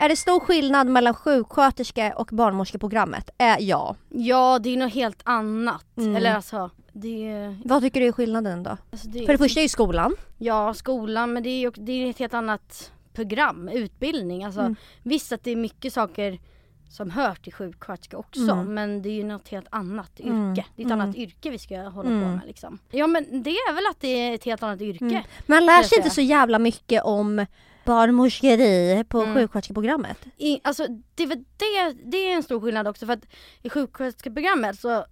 [SPEAKER 1] Är det stor skillnad mellan sjuksköterske och barnmorskeprogrammet? Eh, ja.
[SPEAKER 2] Ja det är något helt annat.
[SPEAKER 1] Mm.
[SPEAKER 2] Eller alltså, det är...
[SPEAKER 1] Vad tycker du är skillnaden då?
[SPEAKER 2] Alltså det,
[SPEAKER 1] För det första är ju skolan.
[SPEAKER 2] Ja, skolan, men det är ju det är ett helt annat program, utbildning. Alltså,
[SPEAKER 1] Mm.
[SPEAKER 2] Visst att det är mycket saker som hör till sjuksköterska också
[SPEAKER 1] Mm.
[SPEAKER 2] men det är ju något helt annat yrke.
[SPEAKER 1] Mm.
[SPEAKER 2] Det är ett
[SPEAKER 1] Mm.
[SPEAKER 2] annat yrke vi ska hålla på
[SPEAKER 1] Mm.
[SPEAKER 2] med liksom. Ja men det är väl att det är ett helt annat yrke.
[SPEAKER 1] Mm. Man lär
[SPEAKER 2] jag
[SPEAKER 1] sig inte
[SPEAKER 2] säga.
[SPEAKER 1] så jävla mycket om barnmorskeri på
[SPEAKER 2] Mm.
[SPEAKER 1] sjuksköterskeprogrammet.
[SPEAKER 2] I, alltså det, är väl det, det är en stor skillnad också för att i sjuksköterskeprogrammet så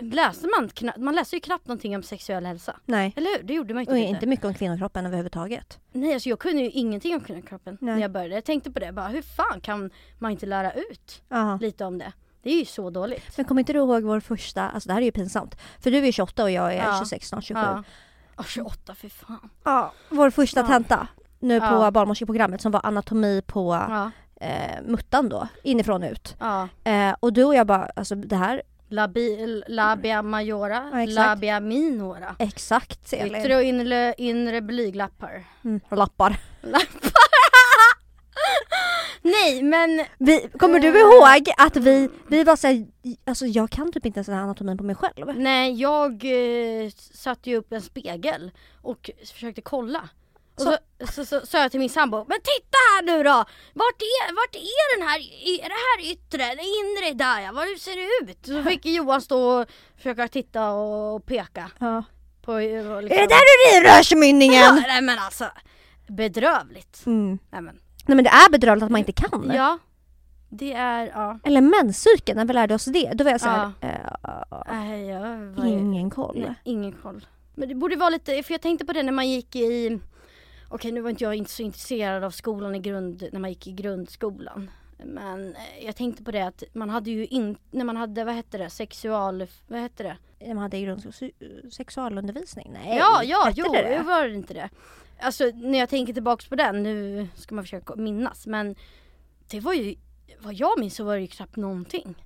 [SPEAKER 2] läste man knappt, man läste ju knappt någonting om sexuell hälsa.
[SPEAKER 1] Nej.
[SPEAKER 2] Eller hur? Det gjorde man ju
[SPEAKER 1] Och
[SPEAKER 2] typ inte.
[SPEAKER 1] inte mycket om kvinnokroppen överhuvudtaget.
[SPEAKER 2] Nej alltså jag kunde ju ingenting om kvinnokroppen
[SPEAKER 1] Nej.
[SPEAKER 2] när jag började. Jag tänkte på det bara, hur fan kan man inte lära ut
[SPEAKER 1] Ja.
[SPEAKER 2] lite om det? Det är ju så dåligt.
[SPEAKER 1] Men kommer inte du ihåg vår första, alltså det här är ju pinsamt. För du är 28 och jag är
[SPEAKER 2] Ja.
[SPEAKER 1] 26, snart 27.
[SPEAKER 2] Ja. Åh, 28 för fan.
[SPEAKER 1] Ja, vår första
[SPEAKER 2] Ja.
[SPEAKER 1] tenta nu på
[SPEAKER 2] Ja.
[SPEAKER 1] barnmorskeprogrammet som var anatomi på
[SPEAKER 2] Ja.
[SPEAKER 1] eh, muttan då, inifrån och ut.
[SPEAKER 2] ja.
[SPEAKER 1] Eh, och du och jag bara, alltså det här,
[SPEAKER 2] Labi, labia majora,
[SPEAKER 1] Ja, exakt.
[SPEAKER 2] labia minora.
[SPEAKER 1] exakt Elin.
[SPEAKER 2] Yttre och inre, inre blyglappar.
[SPEAKER 1] Mm, lappar.
[SPEAKER 2] Nej men
[SPEAKER 1] Vi, kommer du
[SPEAKER 2] Eh.
[SPEAKER 1] ihåg att vi, vi var såhär, alltså jag kan typ inte ens den här anatomin på mig själv.
[SPEAKER 2] nej jag eh, satte ju upp en spegel och försökte kolla. Och så så- så- sa jag till min sambo, men titta här nu då! Vart är, vart är den här, är det här yttre, det inre där ja, vad ser det ut? Så fick Johan stå och försöka titta och, och peka.
[SPEAKER 1] Ja.
[SPEAKER 2] På, eh, och liksom-
[SPEAKER 1] Är det där du rivrörsmynningen?
[SPEAKER 2] Ja, nej men alltså, bedrövligt.
[SPEAKER 1] Mm.
[SPEAKER 2] Nej men,
[SPEAKER 1] Nej men det är bedrövligt att man inte kan.
[SPEAKER 2] ja. Det är, ja.
[SPEAKER 1] Eller menscykeln, när vi lärde oss det, då var jag såhär, eh,
[SPEAKER 2] Nej, jag var ju-
[SPEAKER 1] ingen koll.
[SPEAKER 2] Nej, ingen koll. Men det borde vara lite, för jag tänkte på det när man gick i Okej nu var inte jag inte så intresserad av skolan i grund, när man gick i grundskolan. Men eh, jag tänkte på det att man hade ju inte, när man hade, vad hette det, sexual, vad hette det?
[SPEAKER 1] När man hade grundskolan, sexualundervisning? Nej,
[SPEAKER 2] ja, ja,
[SPEAKER 1] hette
[SPEAKER 2] jo,
[SPEAKER 1] det
[SPEAKER 2] det
[SPEAKER 1] det?
[SPEAKER 2] var det inte det. Alltså när jag tänker tillbaks på den, nu ska man försöka minnas, men det var ju, vad jag minns så var det ju knappt någonting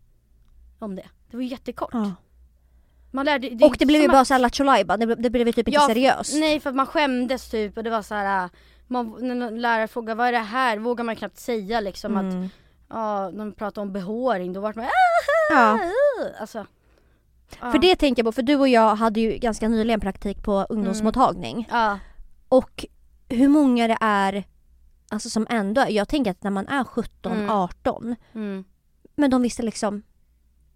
[SPEAKER 2] om det. Det var ju jättekort.
[SPEAKER 1] Ja.
[SPEAKER 2] Man lärde, är
[SPEAKER 1] Och
[SPEAKER 2] inte
[SPEAKER 1] det blev
[SPEAKER 2] som
[SPEAKER 1] ju
[SPEAKER 2] att-
[SPEAKER 1] bara såhär lattjo lajban, det, blev- det blev ju typ inte
[SPEAKER 2] Ja,
[SPEAKER 1] seriöst.
[SPEAKER 2] Nej för att man skämdes typ och det var så här. äh, Man, när någon lärare frågade vad är det här? Vågar man knappt säga liksom att
[SPEAKER 1] Mm.
[SPEAKER 2] ja, de pratade om behåring, då vart man
[SPEAKER 1] Ja.
[SPEAKER 2] äh, alltså. Ja.
[SPEAKER 1] För det tänker jag på, för du och jag hade ju ganska nyligen praktik
[SPEAKER 2] Mm.
[SPEAKER 1] på ungdomsmottagning.
[SPEAKER 2] Ja.
[SPEAKER 1] Och hur många det är alltså som ändå, jag tänker att när man är 17,
[SPEAKER 2] Mm.
[SPEAKER 1] 18,
[SPEAKER 2] Mm.
[SPEAKER 1] men de visste liksom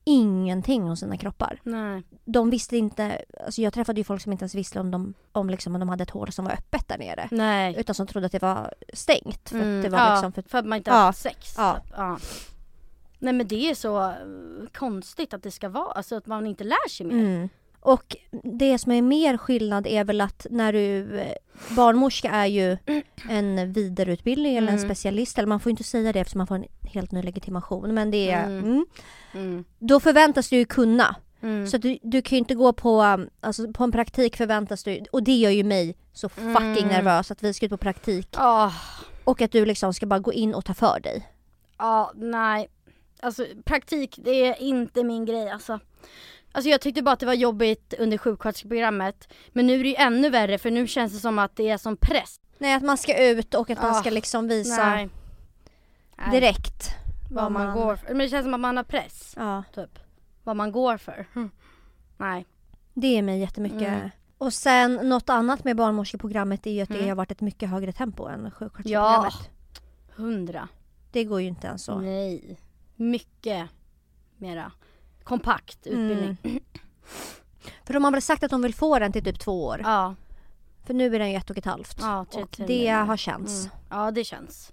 [SPEAKER 1] ingenting om sina kroppar.
[SPEAKER 2] Nej.
[SPEAKER 1] De visste inte, alltså jag träffade ju folk som inte ens visste om de, om liksom, om de hade ett hål som var öppet där nere.
[SPEAKER 2] Nej.
[SPEAKER 1] Utan som trodde att det var stängt. För
[SPEAKER 2] Mm,
[SPEAKER 1] att det var
[SPEAKER 2] ja,
[SPEAKER 1] liksom för,
[SPEAKER 2] att man inte
[SPEAKER 1] Ja.
[SPEAKER 2] har haft sex.
[SPEAKER 1] Ja.
[SPEAKER 2] Typ. Ja. Nej men det är så eh, konstigt att det ska vara, alltså att man inte lär sig mer.
[SPEAKER 1] Mm. Och det som är mer skillnad är väl att när du eh, barnmorska är ju en vidareutbildning eller en
[SPEAKER 2] Mm.
[SPEAKER 1] specialist eller man får ju inte säga det eftersom man får en helt ny legitimation men det är
[SPEAKER 2] Mm.
[SPEAKER 1] mm.
[SPEAKER 2] Mm.
[SPEAKER 1] då förväntas du ju kunna
[SPEAKER 2] Mm.
[SPEAKER 1] så att du, du kan ju inte gå på um, alltså på en praktik förväntas du och det gör ju mig så fucking
[SPEAKER 2] Mm.
[SPEAKER 1] nervös att vi ska ut på praktik
[SPEAKER 2] Ah.
[SPEAKER 1] och att du liksom ska bara gå in och ta för dig.
[SPEAKER 2] Ja, nej. Alltså praktik, det är inte min grej alltså. Alltså jag tyckte bara att det var jobbigt under sjuksköterskeprogrammet. Men nu är det ju ännu värre för nu känns det som att det är som press.
[SPEAKER 1] Nej att man ska ut och att man
[SPEAKER 2] Ah,
[SPEAKER 1] ska liksom visa
[SPEAKER 2] Nej. Nej.
[SPEAKER 1] direkt
[SPEAKER 2] Vad man, går för. Men det känns som att man har press.
[SPEAKER 1] Ja.
[SPEAKER 2] Typ. Vad man går för. Hm. Nej.
[SPEAKER 1] Det ger mig jättemycket.
[SPEAKER 2] Mm.
[SPEAKER 1] Och sen något annat med barnmorskeprogrammet är ju att det
[SPEAKER 2] Mm.
[SPEAKER 1] har varit ett mycket högre tempo än sjuksköterskeprogrammet.
[SPEAKER 2] Hundra.
[SPEAKER 1] Det går ju inte ens så.
[SPEAKER 2] Mm. Nej. Mycket mera kompakt utbildning.
[SPEAKER 1] För de har väl sagt att de vill få den till typ två år.
[SPEAKER 2] Ja.
[SPEAKER 1] För nu är den ju ett och ett halvt.
[SPEAKER 2] Ja, tre
[SPEAKER 1] och det
[SPEAKER 2] terminer.
[SPEAKER 1] har känts.
[SPEAKER 2] Mm. Ja det känns.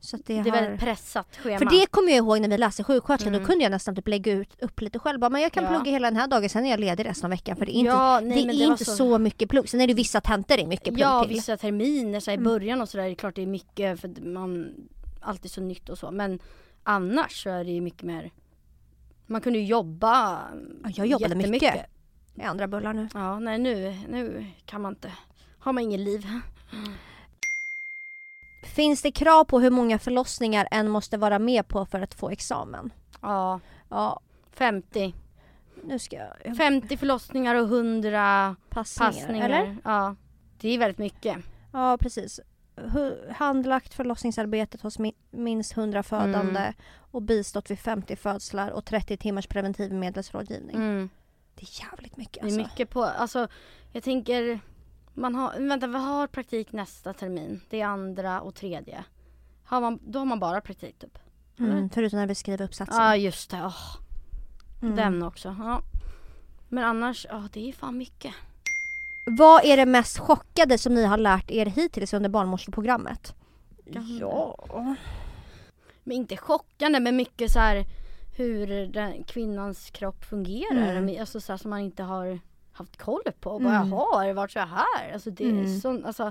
[SPEAKER 1] Så att
[SPEAKER 2] Det
[SPEAKER 1] det,
[SPEAKER 2] är
[SPEAKER 1] har...
[SPEAKER 2] väldigt pressat schema.
[SPEAKER 1] För det kommer jag ihåg när vi läste sjuksköterska,
[SPEAKER 2] Mm.
[SPEAKER 1] då kunde jag nästan typ lägga ut upp lite själv. Bara, men jag kan
[SPEAKER 2] Ja.
[SPEAKER 1] plugga hela den här dagen, sen är jag ledig resten av veckan. För det är inte,
[SPEAKER 2] ja, nej,
[SPEAKER 1] det
[SPEAKER 2] men
[SPEAKER 1] är
[SPEAKER 2] var
[SPEAKER 1] inte så... mycket plugg. Sen är det vissa tentor det är mycket plugg
[SPEAKER 2] Ja,
[SPEAKER 1] till.
[SPEAKER 2] vissa terminer så här, i
[SPEAKER 1] Mm.
[SPEAKER 2] början och sådär. Det är klart det är mycket för att man alltid så nytt och så. Men annars så är det ju mycket mer. Man kunde ju jobba
[SPEAKER 1] Ja, jag jobbade
[SPEAKER 2] jättemycket.
[SPEAKER 1] mycket. Jag ändrar bullar nu.
[SPEAKER 2] Ja, nej nu, nu kan man inte. Har man inget liv.
[SPEAKER 1] Finns det krav på hur många förlossningar en måste vara med på för att få examen?
[SPEAKER 2] Ja,
[SPEAKER 1] Ja,
[SPEAKER 2] 50.
[SPEAKER 1] nu ska jag... jag
[SPEAKER 2] 50 förlossningar och 100
[SPEAKER 1] passningar,
[SPEAKER 2] passningar.
[SPEAKER 1] eller?
[SPEAKER 2] Ja, det är väldigt mycket.
[SPEAKER 1] Ja, precis. Hu- Handlagt förlossningsarbetet hos mi- minst 100 födande
[SPEAKER 2] Mm.
[SPEAKER 1] och bistått vid 50 födslar och 30 timmars preventivmedelsrådgivning.
[SPEAKER 2] Mm.
[SPEAKER 1] Det är jävligt mycket
[SPEAKER 2] Det är
[SPEAKER 1] alltså.
[SPEAKER 2] mycket på, alltså jag tänker, man har, vänta vi har praktik nästa termin, det är andra och tredje. Har man, då har man bara praktik typ. Alltså.
[SPEAKER 1] Mm, förutom när vi skriver uppsatsen.
[SPEAKER 2] Ja just det, åh,
[SPEAKER 1] Mm.
[SPEAKER 2] den också. Ja. Men annars, ja det är fan mycket.
[SPEAKER 1] Vad är det mest chockade som ni har lärt er hittills under barnmorskeprogrammet?
[SPEAKER 2] Ja. Men inte chockande men mycket så här hur den, kvinnans kropp fungerar.
[SPEAKER 1] Mm.
[SPEAKER 2] Alltså så här, som man inte har haft koll på. Och bara, Jaha, har det varit så här? Alltså, det är
[SPEAKER 1] Mm.
[SPEAKER 2] sån, alltså,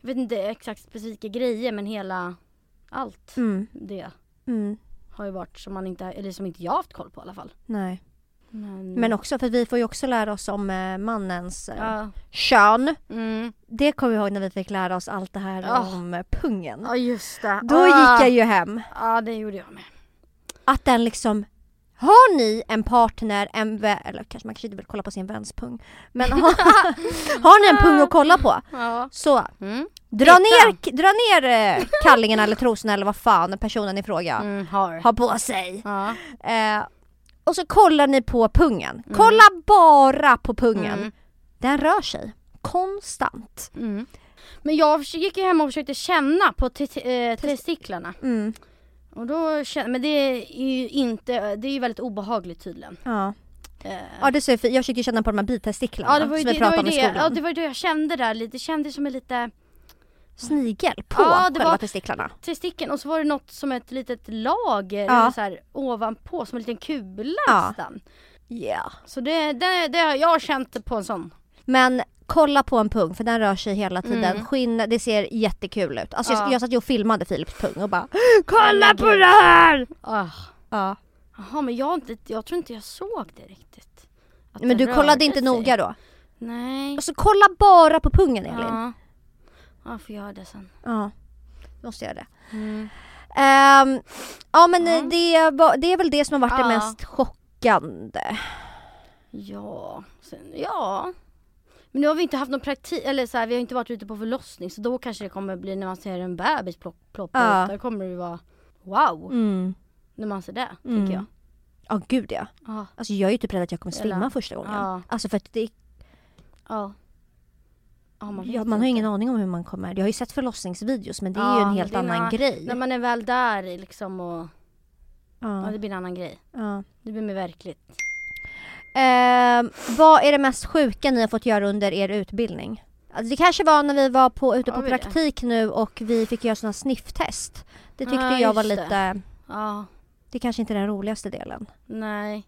[SPEAKER 2] jag vet inte exakt specifika grejer men hela allt
[SPEAKER 1] Mm.
[SPEAKER 2] det
[SPEAKER 1] Mm.
[SPEAKER 2] har ju varit som man inte, eller som inte jag har haft koll på i alla fall.
[SPEAKER 1] Nej.
[SPEAKER 2] Men,
[SPEAKER 1] Men också för att vi får ju också lära oss om eh, mannens eh,
[SPEAKER 2] Mm. ja.
[SPEAKER 1] kön.
[SPEAKER 2] Mm.
[SPEAKER 1] Det kommer jag ihåg när vi fick lära oss allt det här
[SPEAKER 2] Ah.
[SPEAKER 1] om eh, pungen.
[SPEAKER 2] ja just det.
[SPEAKER 1] Då
[SPEAKER 2] Ah.
[SPEAKER 1] gick jag ju hem.
[SPEAKER 2] Ja det gjorde jag med.
[SPEAKER 1] Att den liksom har ni en partner, en vän, eller kanske man kanske inte vill kolla på sin väns pung. Men har, har ni en pung att kolla på
[SPEAKER 2] Ja.
[SPEAKER 1] så
[SPEAKER 2] Mm.
[SPEAKER 1] dra ner, dra ner eh, kallingen eller trosorna eller vad fan personen i fråga
[SPEAKER 2] Mm, har.
[SPEAKER 1] har på sig.
[SPEAKER 2] Ja.
[SPEAKER 1] Eh, och så kollar ni på pungen. Kolla bara på pungen.
[SPEAKER 2] Mm.
[SPEAKER 1] Den rör sig konstant.
[SPEAKER 2] Mm. Men jag förs- gick ju hem och försökte känna på te- eh, testiklarna.
[SPEAKER 1] Mm.
[SPEAKER 2] Och då kände, men det är ju inte, det är ju väldigt obehagligt tydligen.
[SPEAKER 1] Ja.
[SPEAKER 2] Eh,
[SPEAKER 1] ja, det ser jag, för jag försökte ju känna på de här bitestiklarna
[SPEAKER 2] ja det var ju
[SPEAKER 1] som
[SPEAKER 2] det,
[SPEAKER 1] vi
[SPEAKER 2] det, var
[SPEAKER 1] pratade
[SPEAKER 2] ju
[SPEAKER 1] om i
[SPEAKER 2] det.
[SPEAKER 1] skolan.
[SPEAKER 2] Ja, det var ju det jag kände där lite, det kändes som en lite
[SPEAKER 1] Snigel på
[SPEAKER 2] Ja, det
[SPEAKER 1] själva
[SPEAKER 2] var-
[SPEAKER 1] testiklarna.
[SPEAKER 2] testikeln och så var det något som ett litet lager
[SPEAKER 1] Ja.
[SPEAKER 2] eller så här, ovanpå som en liten kula
[SPEAKER 1] Ja.
[SPEAKER 2] nästan.
[SPEAKER 1] Yeah.
[SPEAKER 2] Så det, det, det har jag känt på en sån.
[SPEAKER 1] Men kolla på en pung för den rör sig hela tiden.
[SPEAKER 2] Mm.
[SPEAKER 1] Skinn, det ser jättekul ut. Alltså
[SPEAKER 2] Ja.
[SPEAKER 1] jag, jag satt ju och filmade Filips pung och bara KOLLA PÅ DET HÄR!
[SPEAKER 2] Ah.
[SPEAKER 1] Ja.
[SPEAKER 2] Jaha men jag, har inte- jag tror inte jag såg det riktigt. Att
[SPEAKER 1] Men
[SPEAKER 2] det
[SPEAKER 1] du kollade
[SPEAKER 2] rörde
[SPEAKER 1] inte
[SPEAKER 2] sig.
[SPEAKER 1] noga då?
[SPEAKER 2] Nej.
[SPEAKER 1] Alltså kolla bara på pungen Elin. Ja.
[SPEAKER 2] Ja. ja, jag får göra det sen.
[SPEAKER 1] Då måste jag göra det.
[SPEAKER 2] Mm.
[SPEAKER 1] Ehm, ja men
[SPEAKER 2] Ja.
[SPEAKER 1] det, var, det är väl det som har varit det
[SPEAKER 2] Ja.
[SPEAKER 1] mest chockande.
[SPEAKER 2] Ja, sen, ja. Men nu har vi inte haft någon praktik, eller så här, vi har inte varit ute på förlossning så då kanske det kommer bli när man ser en bebis plopp- ploppa
[SPEAKER 1] Ja.
[SPEAKER 2] ut, där kommer det vara wow när man ser det,
[SPEAKER 1] Mm.
[SPEAKER 2] tycker jag.
[SPEAKER 1] Ja gud ja.
[SPEAKER 2] Ja,
[SPEAKER 1] Alltså jag är ju typ rädd att jag kommer svimma
[SPEAKER 2] Eller-
[SPEAKER 1] första gången.
[SPEAKER 2] Ja.
[SPEAKER 1] Alltså för att det,
[SPEAKER 2] ja. Ja, man,
[SPEAKER 1] ja,
[SPEAKER 2] vet
[SPEAKER 1] man har ju
[SPEAKER 2] inte.
[SPEAKER 1] ingen aning om hur man kommer. Jag har ju sett förlossningsvideos men det är
[SPEAKER 2] Ja,
[SPEAKER 1] ju en
[SPEAKER 2] men
[SPEAKER 1] helt
[SPEAKER 2] det är en
[SPEAKER 1] annan
[SPEAKER 2] annan-
[SPEAKER 1] grej.
[SPEAKER 2] När man är väl där i liksom och, ja.
[SPEAKER 1] ja.
[SPEAKER 2] det blir en annan grej.
[SPEAKER 1] Ja.
[SPEAKER 2] Det blir mer verkligt.
[SPEAKER 1] Ehm, vad är det mest sjuka ni har fått göra under er utbildning? Alltså det kanske var när vi var på, ute
[SPEAKER 2] Ja,
[SPEAKER 1] på
[SPEAKER 2] vi det.
[SPEAKER 1] praktik nu och vi fick göra sådana snifftest. Det tyckte
[SPEAKER 2] Ja,
[SPEAKER 1] jag var
[SPEAKER 2] just det.
[SPEAKER 1] lite,
[SPEAKER 2] Ja,
[SPEAKER 1] det kanske inte är den roligaste delen.
[SPEAKER 2] nej.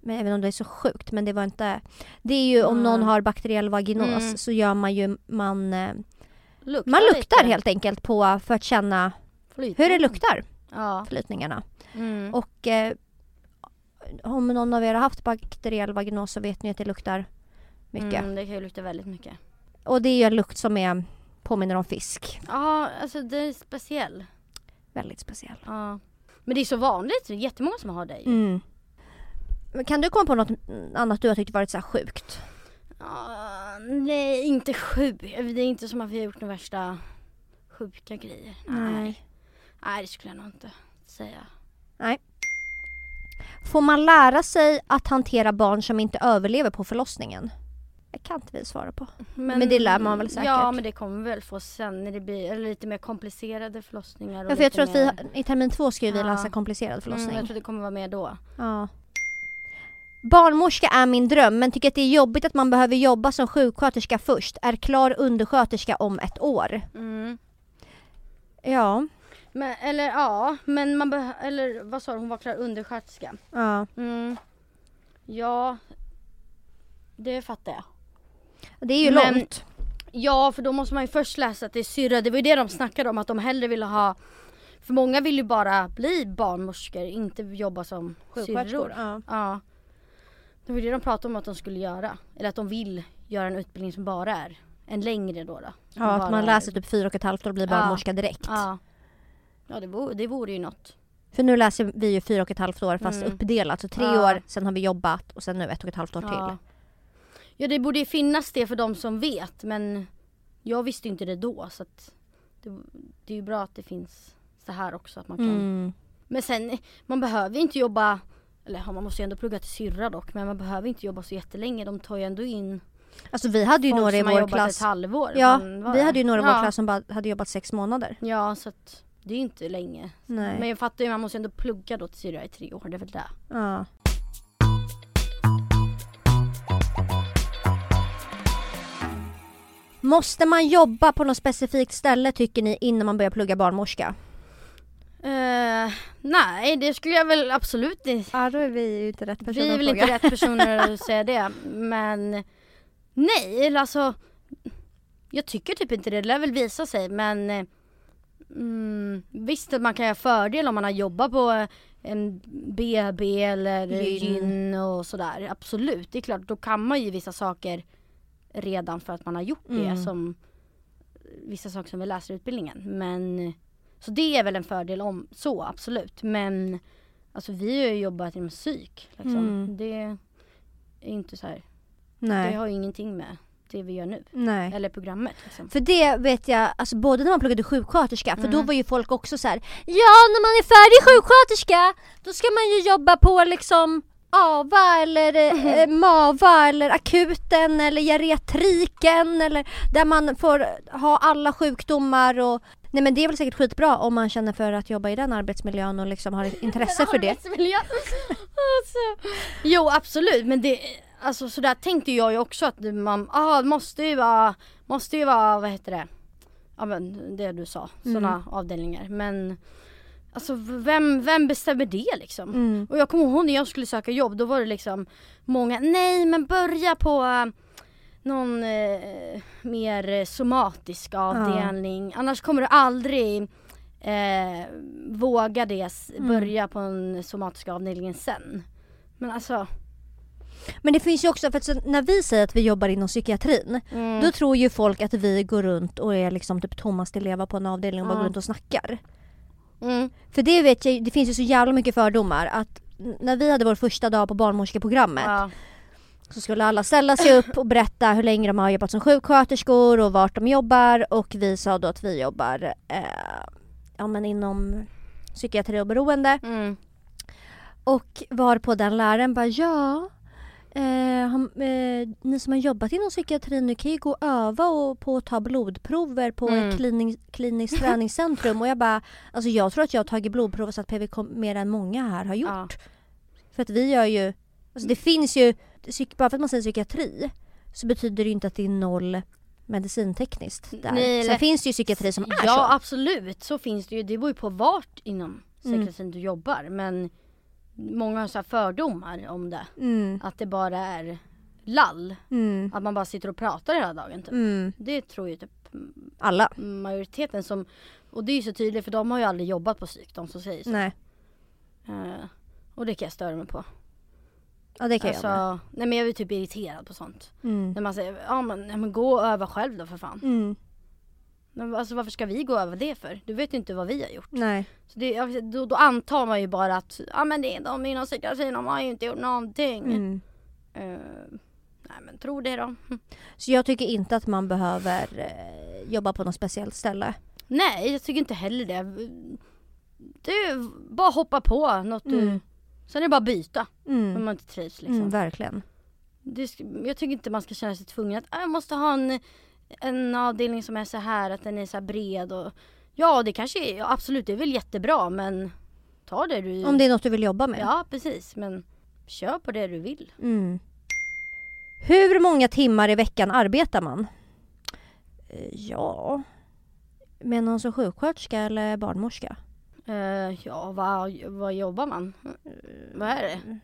[SPEAKER 1] Men även om det är så sjukt men det var inte, det är ju om
[SPEAKER 2] Mm.
[SPEAKER 1] någon har bakteriell vaginos
[SPEAKER 2] Mm.
[SPEAKER 1] så gör man ju, man, eh,
[SPEAKER 2] Luktar
[SPEAKER 1] man luktar
[SPEAKER 2] lite.
[SPEAKER 1] helt enkelt på för att känna
[SPEAKER 2] Flyter.
[SPEAKER 1] hur det luktar,
[SPEAKER 2] Ja.
[SPEAKER 1] flytningarna.
[SPEAKER 2] Mm.
[SPEAKER 1] Och eh, om någon av er har haft bakteriell vaginos så vet ni att det luktar mycket.
[SPEAKER 2] Mm, det kan ju lukta väldigt mycket.
[SPEAKER 1] Och det är ju en lukt som är, påminner om fisk.
[SPEAKER 2] Ja, alltså det är speciell.
[SPEAKER 1] Väldigt speciell.
[SPEAKER 2] Ja. Men det är så vanligt, det är jättemånga som har det ju.
[SPEAKER 1] Mm. Men Kan du komma på något annat du har tyckt varit så här sjukt?
[SPEAKER 2] Ja, nej, inte sjuk. Det är inte som att vi har gjort några värsta sjuka grejer. Nej, det skulle jag nog inte säga.
[SPEAKER 1] Får man lära sig att hantera barn som inte överlever på förlossningen? Det kan inte vi svara på. Men det lär man väl säkert.
[SPEAKER 2] Ja, men det kommer vi väl få sen när det blir eller lite mer komplicerade förlossningar. och
[SPEAKER 1] Ja, för jag
[SPEAKER 2] lite
[SPEAKER 1] tror att vi,
[SPEAKER 2] mer-
[SPEAKER 1] i termin två ska ju vi
[SPEAKER 2] Ja.
[SPEAKER 1] läsa komplicerad förlossning.
[SPEAKER 2] Mm, jag tror det kommer vara med då.
[SPEAKER 1] ja. Barnmorska är min dröm men tycker att det är jobbigt att man behöver jobba som sjuksköterska först. Är klar undersköterska om ett år.
[SPEAKER 2] Mm.
[SPEAKER 1] Ja.
[SPEAKER 2] Men, eller ja, men man beh- eller vad sa du, hon var klar undersköterska.
[SPEAKER 1] ja.
[SPEAKER 2] Mm. Ja, det fattar jag.
[SPEAKER 1] Det är ju
[SPEAKER 2] Men-
[SPEAKER 1] långt.
[SPEAKER 2] Ja, för då måste man ju först läsa till syrra. Det var ju det de snackade om, att de hellre ville ha... För många vill ju bara bli barnmorskor, inte jobba som syrror.
[SPEAKER 1] Ja.
[SPEAKER 2] Ja. Det var ju det de pratade om att de skulle göra. Eller att de vill göra en utbildning som bara är en längre då. då Som
[SPEAKER 1] Ja, att
[SPEAKER 2] bara
[SPEAKER 1] man
[SPEAKER 2] är-
[SPEAKER 1] läser typ fyra och ett halvt år och blir
[SPEAKER 2] Ja.
[SPEAKER 1] barnmorska direkt.
[SPEAKER 2] Ja. Ja, det vore, det vore ju något.
[SPEAKER 1] För nu läser vi ju fyra och ett halvt år fast
[SPEAKER 2] Mm.
[SPEAKER 1] uppdelat. Så tre
[SPEAKER 2] Ja.
[SPEAKER 1] år, sen har vi jobbat och sen nu ett och ett halvt år
[SPEAKER 2] Ja.
[SPEAKER 1] till.
[SPEAKER 2] ja, det borde ju finnas det för de som vet, men jag visste ju inte det då. Så att det, det är ju bra att det finns så här också, att man kan
[SPEAKER 1] Mm.
[SPEAKER 2] Men sen, man behöver ju inte jobba, eller ja, man måste ju ändå plugga till syrra dock, men man behöver inte jobba så jättelänge. De tar ju ändå in
[SPEAKER 1] Alltså vi hade ju
[SPEAKER 2] folk
[SPEAKER 1] några i
[SPEAKER 2] som har
[SPEAKER 1] vår
[SPEAKER 2] jobbat
[SPEAKER 1] klass.
[SPEAKER 2] ett halvår.
[SPEAKER 1] Ja,
[SPEAKER 2] men vad
[SPEAKER 1] vi
[SPEAKER 2] är-
[SPEAKER 1] hade ju några i
[SPEAKER 2] ja.
[SPEAKER 1] vår klass som bara hade jobbat sex månader.
[SPEAKER 2] Ja, så att det är ju inte länge.
[SPEAKER 1] Nej.
[SPEAKER 2] Men jag fattar ju, man måste ju ändå plugga då till syrra i tre år, det är väl det.
[SPEAKER 1] Ja. Måste man jobba på något specifikt ställe tycker ni innan man börjar plugga barnmorska?
[SPEAKER 2] Eh, Eh, nej, det skulle jag väl absolut inte.
[SPEAKER 1] Ja, då är vi ju inte rätt personer
[SPEAKER 2] Vi är
[SPEAKER 1] att
[SPEAKER 2] väl
[SPEAKER 1] fråga.
[SPEAKER 2] inte rätt personer att säga det. Men nej, alltså. Jag tycker typ inte det. Det lär väl visa sig. Men eh, mm, visst, att man kan ha fördel om man har jobbat på eh, en BB eller
[SPEAKER 1] Gyn.
[SPEAKER 2] gyn. och sådär. Absolut, det är klart. Då kan man ju vissa saker redan för att man har gjort det.
[SPEAKER 1] Mm.
[SPEAKER 2] som Vissa saker som vi läser i utbildningen. Men, så det är väl en fördel om så, absolut. Men Alltså vi har ju jobbat inom psyk. Liksom.
[SPEAKER 1] Mm.
[SPEAKER 2] Det är inte så här.
[SPEAKER 1] Nej.
[SPEAKER 2] Det har ju ingenting med det vi gör nu.
[SPEAKER 1] Nej.
[SPEAKER 2] Eller programmet. Liksom.
[SPEAKER 1] För det vet jag, alltså både när man pluggade sjuksköterska, för då
[SPEAKER 2] Mm.
[SPEAKER 1] var ju folk också så här: Ja, när man är färdig sjuksköterska, då ska man ju jobba på liksom AVA eller eh, MAVA eller akuten eller geriatriken eller där man får ha alla sjukdomar och Nej men det är väl säkert skitbra om man känner för att jobba i den arbetsmiljön och liksom har ett intresse för det.
[SPEAKER 2] Arbetsmiljö. alltså. Jo absolut men det, alltså sådär tänkte jag ju också att man, ah, det måste ju vara, måste ju vara, vad heter det? Ja men det du sa,
[SPEAKER 1] Mm.
[SPEAKER 2] sådana avdelningar. Men alltså vem, vem bestämmer det liksom?
[SPEAKER 1] Mm.
[SPEAKER 2] Och jag kommer ihåg när jag skulle söka jobb, då var det liksom många, nej men börja på eh, någon eh, mer somatisk avdelning. Annars kommer du aldrig eh, våga det, s-
[SPEAKER 1] Mm.
[SPEAKER 2] börja på en somatisk avdelning sen. Men alltså,
[SPEAKER 1] Men det finns ju också, för att så, när vi säger att vi jobbar inom psykiatrin,
[SPEAKER 2] mm,
[SPEAKER 1] Då tror ju folk att vi går runt och är liksom typ Thomas Di Leva på en avdelning och bara
[SPEAKER 2] Ja.
[SPEAKER 1] går runt och snackar.
[SPEAKER 2] mm,
[SPEAKER 1] För det vet jag ju- det finns ju så jävla mycket fördomar att n- när vi hade vår första dag på barnmorskeprogrammet
[SPEAKER 2] ja,
[SPEAKER 1] så skulle alla ställa sig upp och berätta hur länge de har jobbat som sjuksköterskor och vart de jobbar och vi sa då att vi jobbar eh, ja, men inom psykiatri och beroende
[SPEAKER 2] mm,
[SPEAKER 1] och var på den läraren bara ja Eh, han, eh, ni som har jobbat inom psykiatrin, ni kan ju gå och öva och, på att ta blodprover på
[SPEAKER 2] Mm.
[SPEAKER 1] ett klinik, kliniskt träningscentrum. och jag bara, alltså jag tror att jag har tagit blodprover så att PVK mer än många här har gjort.
[SPEAKER 2] ja.
[SPEAKER 1] För att vi gör ju, alltså det finns ju, psyk- bara för att man säger psykiatri så betyder det ju inte att det är noll medicintekniskt där.
[SPEAKER 2] Nej,
[SPEAKER 1] Sen
[SPEAKER 2] eller-
[SPEAKER 1] finns det ju psykiatri som är
[SPEAKER 2] Ja
[SPEAKER 1] så.
[SPEAKER 2] absolut, så finns det ju. Det beror ju på vart inom
[SPEAKER 1] Mm.
[SPEAKER 2] psykiatrin du jobbar. Men många har så här fördomar om det.
[SPEAKER 1] Mm,
[SPEAKER 2] Att det bara är lall.
[SPEAKER 1] mm,
[SPEAKER 2] Att man bara sitter och pratar hela dagen typ.
[SPEAKER 1] mm.
[SPEAKER 2] Det tror ju typ
[SPEAKER 1] Alla.
[SPEAKER 2] majoriteten som, och det är ju så tydligt för de har ju aldrig jobbat på psyk de som säger så.
[SPEAKER 1] Nej,
[SPEAKER 2] Eh, och det kan jag störa mig på.
[SPEAKER 1] ja det kan jag med.
[SPEAKER 2] Alltså, nej men jag är ju typ irriterad på sånt.
[SPEAKER 1] Mm.
[SPEAKER 2] När man säger, ja men, ja, men gå och öva själv då för fan.
[SPEAKER 1] Mm.
[SPEAKER 2] Men, alltså varför ska vi gå och öva det för? Du vet ju inte vad vi har gjort.
[SPEAKER 1] Nej.
[SPEAKER 2] Så det, jag- då, då antar man ju bara att, ja men det är de inom psykiatrin, de har ju inte gjort någonting.
[SPEAKER 1] Mm.
[SPEAKER 2] Eh, nej men tro det då.
[SPEAKER 1] Så jag tycker inte att man behöver eh, jobba på något speciellt ställe.
[SPEAKER 2] Nej, jag tycker inte heller det. Du, bara hoppa på något
[SPEAKER 1] Mm.
[SPEAKER 2] du... Sen är det bara att byta om
[SPEAKER 1] Mm.
[SPEAKER 2] man inte trivs liksom.
[SPEAKER 1] Mm, verkligen.
[SPEAKER 2] Det sk- jag tycker inte man ska känna sig tvungen att "Ah, jag måste ha en, en avdelning som är så här, att den är så här bred och... Ja, det kanske är, ja, absolut, det är väl jättebra men ta det du...
[SPEAKER 1] Om det är något du vill jobba med.
[SPEAKER 2] Ja, precis. Men kör på det du vill.
[SPEAKER 1] Mm. Hur många timmar i veckan arbetar man? Eh, Ja... Med någon som sjuksköterska eller barnmorska?
[SPEAKER 2] Eh, ja, vad, vad jobbar man? Eh, vad är
[SPEAKER 1] Mm.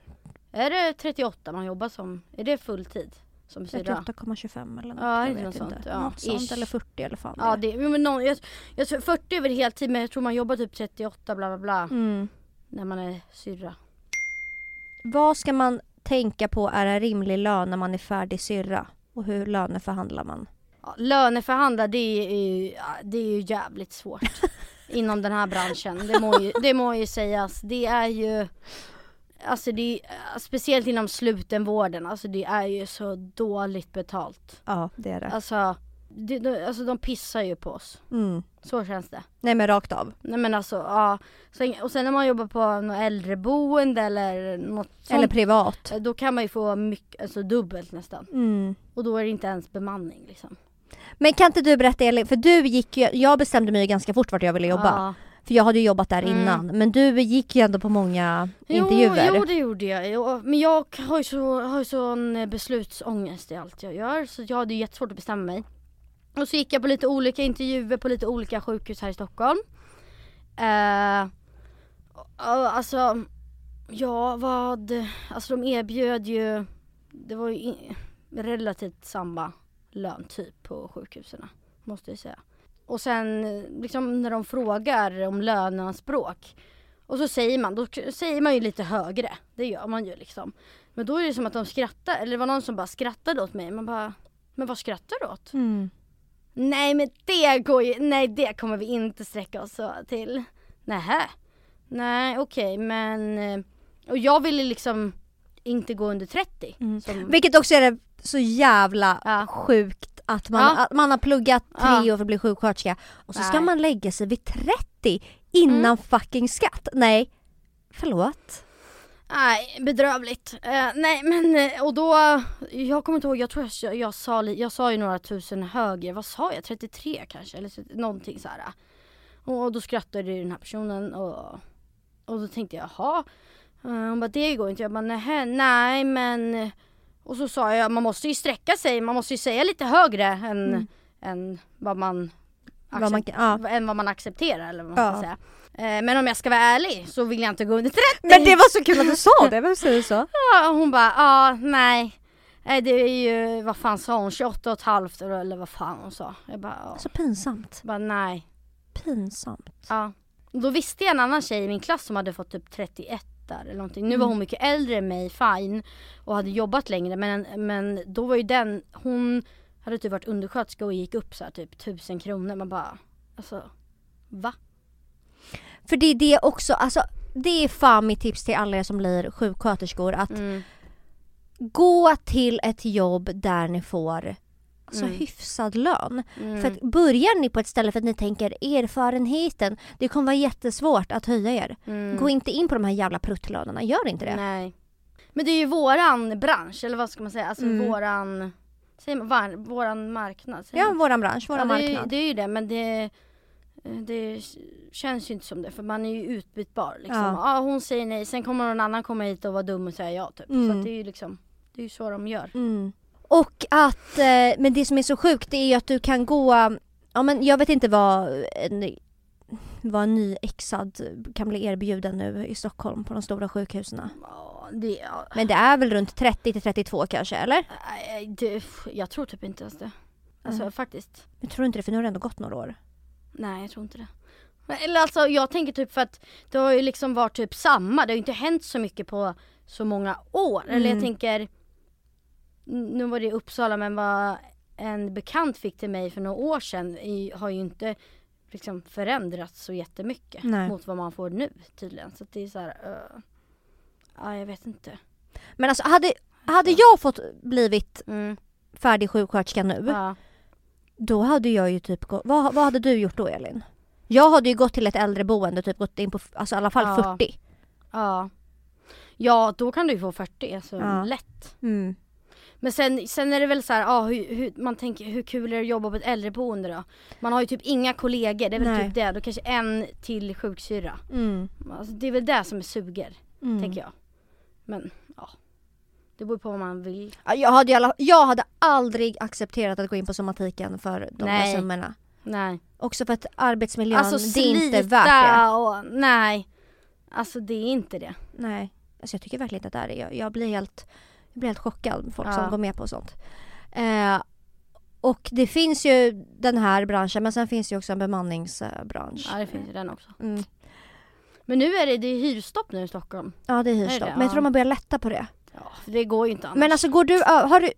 [SPEAKER 2] det? Är det 38 man jobbar som? Är det fulltid? Som
[SPEAKER 1] Typ
[SPEAKER 2] syrra?
[SPEAKER 1] 38,25 eller något.
[SPEAKER 2] Ja,
[SPEAKER 1] jag
[SPEAKER 2] det
[SPEAKER 1] vet
[SPEAKER 2] är något
[SPEAKER 1] inte.
[SPEAKER 2] sånt, ja.
[SPEAKER 1] Något sånt
[SPEAKER 2] Ish.
[SPEAKER 1] eller 40 eller fan
[SPEAKER 2] Ja,
[SPEAKER 1] det
[SPEAKER 2] det, jo, men någon, jag, jag, tror 40 är väl heltid men jag tror man jobbar typ 38 bla bla bla
[SPEAKER 1] är. mm.
[SPEAKER 2] när man är syrra.
[SPEAKER 1] Vad ska man tänka på är en rimlig lön när man är färdig syrra? Och hur löneförhandlar man?
[SPEAKER 2] Ja, löneförhandla det är, ju, ja, det är ju jävligt svårt inom den här branschen. Det må, ju, det må ju sägas. Det är ju Alltså det är, speciellt inom slutenvården, alltså det är ju så dåligt betalt.
[SPEAKER 1] Ja, det är det.
[SPEAKER 2] Alltså, det, de- alltså de pissar ju på oss.
[SPEAKER 1] Mm.
[SPEAKER 2] Så känns det.
[SPEAKER 1] Nej men rakt av.
[SPEAKER 2] Nej men alltså ja. Sen, och sen när man jobbar på något äldreboende eller något sånt.
[SPEAKER 1] Eller privat.
[SPEAKER 2] Eh, Då kan man ju få mycket, alltså dubbelt nästan.
[SPEAKER 1] Mm.
[SPEAKER 2] Och då är det inte ens bemanning liksom.
[SPEAKER 1] Men kan inte du berätta Elin, för du gick ju, jag bestämde mig ju ganska fort vart jag ville jobba.
[SPEAKER 2] Ja.
[SPEAKER 1] För jag hade ju jobbat där
[SPEAKER 2] Mm.
[SPEAKER 1] innan. Men du gick ju ändå på många intervjuer. Mm.
[SPEAKER 2] Jo, jo det gjorde jag. Jo, Men jag har ju, så, har ju sån eh, beslutsångest i allt jag gör så jag hade ju jättesvårt att bestämma mig. Och så gick jag på lite olika intervjuer på lite olika sjukhus här i Stockholm. Eh, Ja, alltså, ja vad, alltså de erbjöd ju, det var ju in, relativt samma lön typ på sjukhusen, måste jag säga. Och sen eh, liksom när de frågar om löneanspråk och så säger man, då k- säger man ju lite högre, det gör man ju liksom. Men då är det som att de skrattar, eller det var någon som bara skrattade åt mig, man bara, men vad skrattar du åt?
[SPEAKER 1] Mm.
[SPEAKER 2] Nej men det går ju, nej det kommer vi inte sträcka oss så till. Nähä. Nej okej men, eh, och jag ville liksom inte gå under 30.
[SPEAKER 1] Mm.
[SPEAKER 2] Som,
[SPEAKER 1] Vilket också är det så jävla
[SPEAKER 2] Ja.
[SPEAKER 1] sjukt att man,
[SPEAKER 2] Ja.
[SPEAKER 1] att man har pluggat tre
[SPEAKER 2] Ja.
[SPEAKER 1] år för att bli sjuksköterska och så ska
[SPEAKER 2] Nej. Mm.
[SPEAKER 1] man lägga sig vid 30 innan fucking skatt. Nej, förlåt.
[SPEAKER 2] nej bedrövligt. Eh, nej men, eh, och då, jag kommer inte ihåg, jag tror jag, jag, sa, li- jag sa ju några tusen högre, vad sa jag, 33 kanske eller så- någonting så här. Och då skrattade ju den här personen och, och då tänkte jag jaha. Eh, Hon bara det går inte. Jag bara nej, nej men. eh." Och så sa jag man måste ju sträcka sig. Man måste ju säga lite högre än,
[SPEAKER 1] Mm.
[SPEAKER 2] än, vad, man
[SPEAKER 1] Vad man,
[SPEAKER 2] accep-
[SPEAKER 1] kan- ja.
[SPEAKER 2] än vad man accepterar eller vad man ska
[SPEAKER 1] Ja.
[SPEAKER 2] säga. Eh, Men om jag ska vara ärlig så vill jag inte gå under 30.
[SPEAKER 1] Men det var så kul att du sa det, vem säger så?
[SPEAKER 2] Ja, och hon bara, ja nej. Nej det är ju, vad fan sa hon, 28 och ett halvt eller eller vad fan hon sa. Jag bara, ja.
[SPEAKER 1] Så pinsamt.
[SPEAKER 2] Jag bara nej.
[SPEAKER 1] Pinsamt.
[SPEAKER 2] Ja. Då visste jag en annan tjej i min klass som hade fått typ 31 där eller någonting.
[SPEAKER 1] Mm.
[SPEAKER 2] Nu var hon mycket äldre än mig, fine. Och hade jobbat längre men, men då var ju den, hon hade typ varit undersköterska och gick upp så här typ 1000 kronor. Man bara, alltså va?
[SPEAKER 1] För det är det också, alltså det är fan mitt tips till alla er som blir sjuksköterskor att
[SPEAKER 2] Mm.
[SPEAKER 1] gå till ett jobb där ni får alltså,
[SPEAKER 2] Mm.
[SPEAKER 1] hyfsad lön.
[SPEAKER 2] Mm.
[SPEAKER 1] För att börjar ni på ett ställe för att ni tänker erfarenheten, det kommer vara jättesvårt att höja er.
[SPEAKER 2] Mm.
[SPEAKER 1] Gå inte in på de här jävla pruttlönerna, gör inte det.
[SPEAKER 2] Nej. Men det är ju våran bransch eller vad ska man säga, alltså
[SPEAKER 1] Mm.
[SPEAKER 2] våran, säger man, var, våran marknad. Säger
[SPEAKER 1] Ja,
[SPEAKER 2] man?
[SPEAKER 1] våran bransch, våran
[SPEAKER 2] ja, det, är ju,
[SPEAKER 1] marknad.
[SPEAKER 2] det är ju det men det, eh, det känns ju inte som det för man är ju utbytbar liksom.
[SPEAKER 1] Ja.
[SPEAKER 2] Ja. hon säger nej sen kommer någon annan komma hit och vara dum och säga ja typ. Så
[SPEAKER 1] Mm.
[SPEAKER 2] att det är ju liksom, det är ju så de gör.
[SPEAKER 1] Mm. Och att, eh, men det som är så sjukt det är ju att du kan gå, ja men jag vet inte vad en, vad en nyexad kan bli erbjuden nu i Stockholm på de stora sjukhusen.
[SPEAKER 2] Ja, det, ja,
[SPEAKER 1] Men det är väl runt 30 till 32 kanske eller?
[SPEAKER 2] nej, det, jag tror typ inte ens det. Alltså
[SPEAKER 1] Mm.
[SPEAKER 2] faktiskt.
[SPEAKER 1] Jag tror inte det för nu har det ändå gått några år.
[SPEAKER 2] Nej jag tror inte det. Men- Eller alltså jag tänker typ för att det har ju liksom varit typ samma, det har ju inte hänt så mycket på så många år. Eller jag
[SPEAKER 1] Mm.
[SPEAKER 2] tänker, nu var det i Uppsala men vad en bekant fick till mig för några år sedan i- har ju inte liksom förändrats så jättemycket
[SPEAKER 1] Nej.
[SPEAKER 2] mot vad man får nu tydligen. Så att det är så här, eh, ja jag vet inte.
[SPEAKER 1] Men alltså hade, hade jag fått blivit
[SPEAKER 2] Mm,
[SPEAKER 1] färdig sjuksköterska nu
[SPEAKER 2] ja.
[SPEAKER 1] Då hade jag ju typ gått, vad, vad hade du gjort då Elin? Jag hade ju gått till ett äldreboende och typ gått in på f- alltså, i alla fall
[SPEAKER 2] Ja.
[SPEAKER 1] 40.
[SPEAKER 2] ja. Ja då kan du ju få 40, alltså
[SPEAKER 1] Ja.
[SPEAKER 2] lätt.
[SPEAKER 1] Mm.
[SPEAKER 2] Men sen, sen är det väl så här, ah, hur, hur, man tänker hur kul är det att jobba på ett äldreboende då? Man har ju typ inga kollegor, det är väl
[SPEAKER 1] Nej.
[SPEAKER 2] typ det. Då kanske en till sjuksyra.
[SPEAKER 1] Mm.
[SPEAKER 2] Alltså, det är väl det som är suger,
[SPEAKER 1] Mm.
[SPEAKER 2] tänker jag. Men ja, det beror på vad man vill.
[SPEAKER 1] Ja, Jag hade, ju alla, jag hade aldrig accepterat att gå in på somatiken för de
[SPEAKER 2] Nej.
[SPEAKER 1] där summorna.
[SPEAKER 2] Nej.
[SPEAKER 1] Också för att arbetsmiljön,
[SPEAKER 2] alltså
[SPEAKER 1] det är inte värt det.
[SPEAKER 2] slita och nej. Alltså det är inte det.
[SPEAKER 1] Nej. Alltså jag tycker verkligen inte att det är det. Jag, jag, blir, helt, jag blir helt chockad med folk
[SPEAKER 2] Ja.
[SPEAKER 1] som går med på sånt. Eh, och det finns ju den här branschen men sen finns ju också en bemanningsbransch.
[SPEAKER 2] Ja det finns ju den också.
[SPEAKER 1] Mm.
[SPEAKER 2] Men nu är det, det är hyrstopp nu i Stockholm.
[SPEAKER 1] Ja det är hyrstopp.
[SPEAKER 2] det?
[SPEAKER 1] Men jag tror
[SPEAKER 2] Ja.
[SPEAKER 1] man börjar lätta på det.
[SPEAKER 2] Ja, för det går ju inte annars.
[SPEAKER 1] Men alltså går du, ö- har du,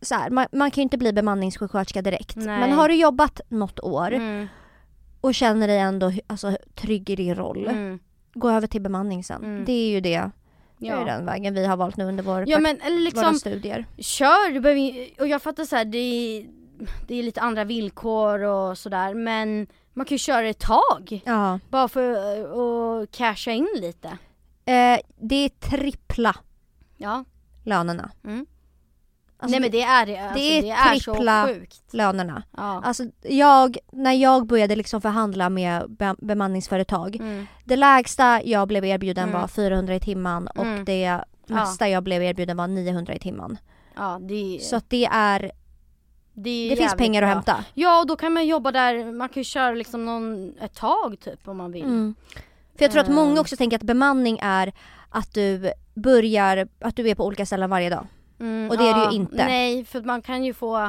[SPEAKER 1] så här, man, man kan ju inte bli bemanningssjuksköterska direkt.
[SPEAKER 2] Nej.
[SPEAKER 1] Men har du jobbat något år
[SPEAKER 2] mm,
[SPEAKER 1] och känner dig ändå hy- alltså, trygg i din roll,
[SPEAKER 2] mm,
[SPEAKER 1] gå över till bemanning sen.
[SPEAKER 2] Mm.
[SPEAKER 1] Det är ju det, det är ju
[SPEAKER 2] ja.
[SPEAKER 1] den vägen vi har valt nu under vår,
[SPEAKER 2] ja men eller liksom
[SPEAKER 1] våra studier.
[SPEAKER 2] Kör, du behöver ju- och jag fattar så här, det, är, det är lite andra villkor och sådär men man kan ju köra ett tag
[SPEAKER 1] Ja.
[SPEAKER 2] bara för att att casha in lite.
[SPEAKER 1] Eh, det är trippla
[SPEAKER 2] Ja,
[SPEAKER 1] lönerna.
[SPEAKER 2] Mm.
[SPEAKER 1] Alltså,
[SPEAKER 2] nej men det är det. Alltså,
[SPEAKER 1] är
[SPEAKER 2] det är
[SPEAKER 1] trippla-
[SPEAKER 2] så sjukt.
[SPEAKER 1] lönerna.
[SPEAKER 2] Ja.
[SPEAKER 1] Alltså jag, när jag började liksom förhandla med be- bemanningsföretag
[SPEAKER 2] Mm.
[SPEAKER 1] Det lägsta jag blev erbjuden
[SPEAKER 2] Mm.
[SPEAKER 1] var 400 i timman och
[SPEAKER 2] Mm.
[SPEAKER 1] det mesta jag blev erbjuden var 900 i timman.
[SPEAKER 2] ja, det,
[SPEAKER 1] Så att det är,
[SPEAKER 2] det, är
[SPEAKER 1] det finns
[SPEAKER 2] jävligt
[SPEAKER 1] pengar att
[SPEAKER 2] bra.
[SPEAKER 1] hämta.
[SPEAKER 2] Ja och då kan man jobba där, man kan ju köra liksom någon, ett tag typ om man vill.
[SPEAKER 1] Mm. För jag tror att många också tänker att bemanning är att du börjar, att du är på olika ställen varje dag.
[SPEAKER 2] Mm,
[SPEAKER 1] Och det är det ju inte.
[SPEAKER 2] Nej, för man kan ju få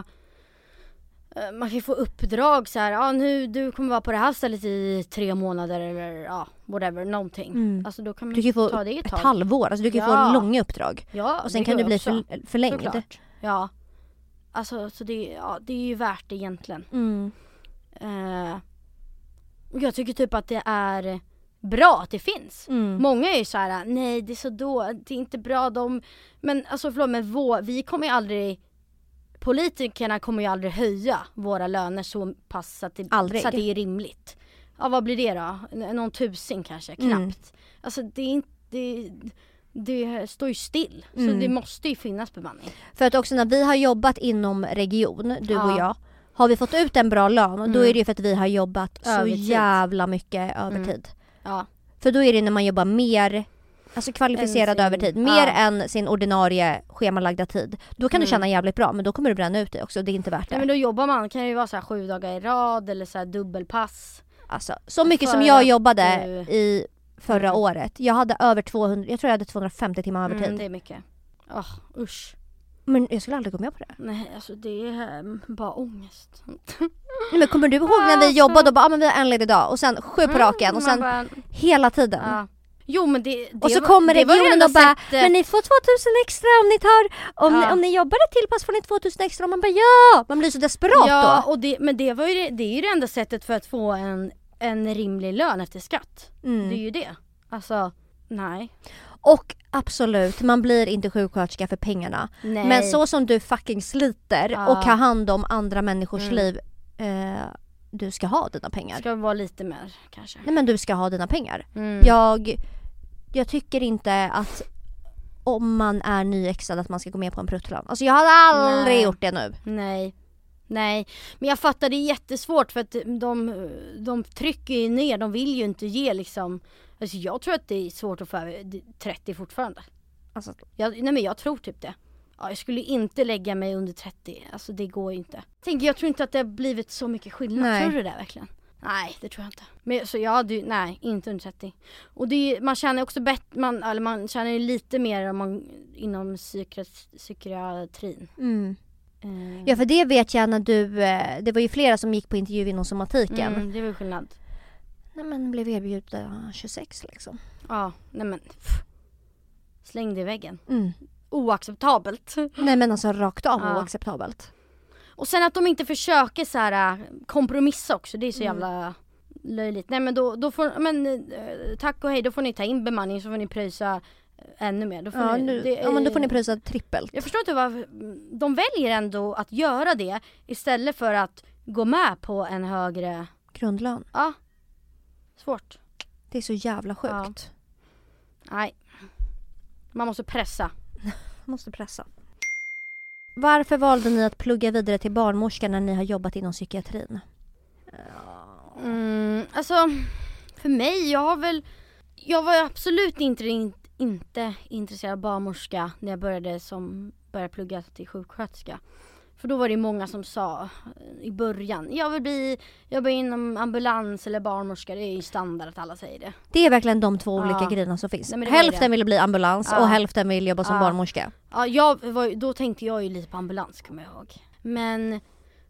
[SPEAKER 2] eh, man kan ju få uppdrag så här, ja nu du kommer vara på det här stället i tre månader eller ja, whatever, någonting.
[SPEAKER 1] Mm.
[SPEAKER 2] Alltså då kan
[SPEAKER 1] Du
[SPEAKER 2] man
[SPEAKER 1] kan ju få
[SPEAKER 2] ta det i
[SPEAKER 1] ett
[SPEAKER 2] tag.
[SPEAKER 1] halvår, alltså du kan ju
[SPEAKER 2] Ja.
[SPEAKER 1] få långa uppdrag.
[SPEAKER 2] Ja,
[SPEAKER 1] Och sen
[SPEAKER 2] det
[SPEAKER 1] kan
[SPEAKER 2] går
[SPEAKER 1] du bli
[SPEAKER 2] också,
[SPEAKER 1] för, förlängd.
[SPEAKER 2] såklart. Ja. Alltså så det, ja, det är ju värt det egentligen.
[SPEAKER 1] Mm.
[SPEAKER 2] Eh, och jag tycker typ att det är bra att det finns.
[SPEAKER 1] Mm.
[SPEAKER 2] Många är ju så här, nej det är så då, det är inte bra de, men alltså förlåt men vår, vi kommer ju aldrig, politikerna kommer ju aldrig höja våra löner så pass att det,
[SPEAKER 1] Aldrig.
[SPEAKER 2] Så att det är rimligt. Ja vad blir det då? N- Någon tusen kanske, knappt.
[SPEAKER 1] Mm.
[SPEAKER 2] Alltså det är inte, det, det står ju still.
[SPEAKER 1] Mm.
[SPEAKER 2] Så det måste ju finnas bemanning.
[SPEAKER 1] För att också när vi har jobbat inom region, du
[SPEAKER 2] Ja. Mm.
[SPEAKER 1] och jag, har vi fått ut en bra lön då är det ju för att vi har jobbat så
[SPEAKER 2] Övertid.
[SPEAKER 1] jävla mycket övertid.
[SPEAKER 2] Mm. Ja.
[SPEAKER 1] För då är det när man jobbar mer, alltså kvalificerad
[SPEAKER 2] Än sin-
[SPEAKER 1] övertid, mer
[SPEAKER 2] ja.
[SPEAKER 1] än sin ordinarie schemalagda tid. Då kan du
[SPEAKER 2] Mm.
[SPEAKER 1] tjäna jävligt bra men då kommer du bränna ut dig också, det är inte värt det.
[SPEAKER 2] Nej, men då jobbar man, kan det ju vara så här sju dagar i rad eller så här dubbelpass.
[SPEAKER 1] Alltså, så mycket som
[SPEAKER 2] För
[SPEAKER 1] jag
[SPEAKER 2] att
[SPEAKER 1] jobbade
[SPEAKER 2] du-
[SPEAKER 1] i förra
[SPEAKER 2] Mm.
[SPEAKER 1] året, jag hade över 200, jag tror jag hade 250 timmar övertid.
[SPEAKER 2] Mm, det är mycket. Åh, usch.
[SPEAKER 1] Men jag skulle aldrig gå med på det.
[SPEAKER 2] Nej, alltså det är eh, bara ångest.
[SPEAKER 1] Nej, men kommer du ihåg när vi
[SPEAKER 2] Alltså. Mm,
[SPEAKER 1] jobbade och bara ah, men vi har en ledig dag och sen sju på raken och
[SPEAKER 2] man
[SPEAKER 1] sen
[SPEAKER 2] bara,
[SPEAKER 1] hela tiden.
[SPEAKER 2] ja. Jo men det, det
[SPEAKER 1] Mm. Och så
[SPEAKER 2] var-
[SPEAKER 1] kommer
[SPEAKER 2] det var det
[SPEAKER 1] regionen
[SPEAKER 2] enda
[SPEAKER 1] och bara
[SPEAKER 2] sättet-
[SPEAKER 1] men ni får 2000 extra om ni tar, om,
[SPEAKER 2] Ja.
[SPEAKER 1] ni, om ni jobbar ett till pass får ni 2000 extra och man bara ja! Man blir så desperat
[SPEAKER 2] Ja,
[SPEAKER 1] då.
[SPEAKER 2] och det, men det, var ju det, det är ju det enda sättet för att få en, en rimlig lön efter skatt. Det är
[SPEAKER 1] Mm.
[SPEAKER 2] ju det. Alltså, nej.
[SPEAKER 1] Och absolut, man blir inte sjuksköterska för pengarna.
[SPEAKER 2] nej.
[SPEAKER 1] Men så som du fucking sliter
[SPEAKER 2] Ja.
[SPEAKER 1] och tar hand om andra människors
[SPEAKER 2] Mm.
[SPEAKER 1] liv, eh, du ska ha dina pengar.
[SPEAKER 2] Ska vara lite mer kanske.
[SPEAKER 1] Nej men du ska ha dina pengar.
[SPEAKER 2] Mm.
[SPEAKER 1] Jag, jag tycker inte att om man är nyexad att man ska gå med på en pruttlön. Alltså jag hade aldrig
[SPEAKER 2] Nej.
[SPEAKER 1] gjort det nu.
[SPEAKER 2] Nej. Nej, men jag fattar det är jättesvårt för att de, de trycker ju ner, de vill ju inte ge liksom Alltså jag tror att det är svårt att få över 30 fortfarande.
[SPEAKER 1] Alltså,
[SPEAKER 2] Jag, nej men jag tror typ det. Ja, jag skulle inte lägga mig under 30, alltså det går ju inte. Tänk, jag tror inte att det har blivit så mycket skillnad,
[SPEAKER 1] Nej.
[SPEAKER 2] tror du det verkligen? Nej, det tror jag inte. Men, så jag hade ju, nej, inte under 30. Och det är, ju- man tjänar ju också bättre, man, eller man tjänar ju lite mer om man, inom psykiat- psykiatrin.
[SPEAKER 1] mm.
[SPEAKER 2] Eh,
[SPEAKER 1] Ja för det vet jag när du, eh, det var ju flera som gick på intervju inom somatiken.
[SPEAKER 2] mm, det var ju skillnad.
[SPEAKER 1] Nej men blev erbjudna 26 liksom.
[SPEAKER 2] Ja, nej men. Pff. Släng det i väggen.
[SPEAKER 1] Mm.
[SPEAKER 2] Oacceptabelt.
[SPEAKER 1] Nej men alltså rakt av
[SPEAKER 2] Ja.
[SPEAKER 1] oacceptabelt.
[SPEAKER 2] Och sen att de inte försöker så här äh, kompromissa också, det är
[SPEAKER 1] Mm.
[SPEAKER 2] så jävla löjligt. Nej men då, då får, men eh, tack och hej, då får ni ta in bemanning så får ni pröjsa eh, ännu mer. Då får
[SPEAKER 1] Ja,
[SPEAKER 2] ni,
[SPEAKER 1] nu,
[SPEAKER 2] det är-
[SPEAKER 1] ja men då får ni pröjsa trippelt.
[SPEAKER 2] Jag förstår inte varför, de väljer ändå att göra det istället för att gå med på en högre,
[SPEAKER 1] Grundlön.
[SPEAKER 2] ja, svårt.
[SPEAKER 1] Det är så jävla sjukt.
[SPEAKER 2] Ja. Nej. Man måste pressa.
[SPEAKER 1] Måste pressa. Varför valde ni att plugga vidare till barnmorska när ni har jobbat inom psykiatrin?
[SPEAKER 2] Mm, alltså, för mig, jag har väl... Jag var absolut inte, in, inte intresserad av barnmorska när jag började, som, började plugga till sjuksköterska. För då var det många som sa eh, i början, jag vill bli, jobba inom ambulans eller barnmorska, det är ju standard att alla säger det.
[SPEAKER 1] Det är verkligen de två
[SPEAKER 2] Ja.
[SPEAKER 1] olika grejerna som finns.
[SPEAKER 2] Nej, men det var ju
[SPEAKER 1] hälften vill bli ambulans
[SPEAKER 2] Ja.
[SPEAKER 1] och hälften vill jobba som
[SPEAKER 2] Ja.
[SPEAKER 1] barnmorska.
[SPEAKER 2] Ja, jag var, ju- då tänkte jag ju lite på ambulans kommer jag ihåg. Men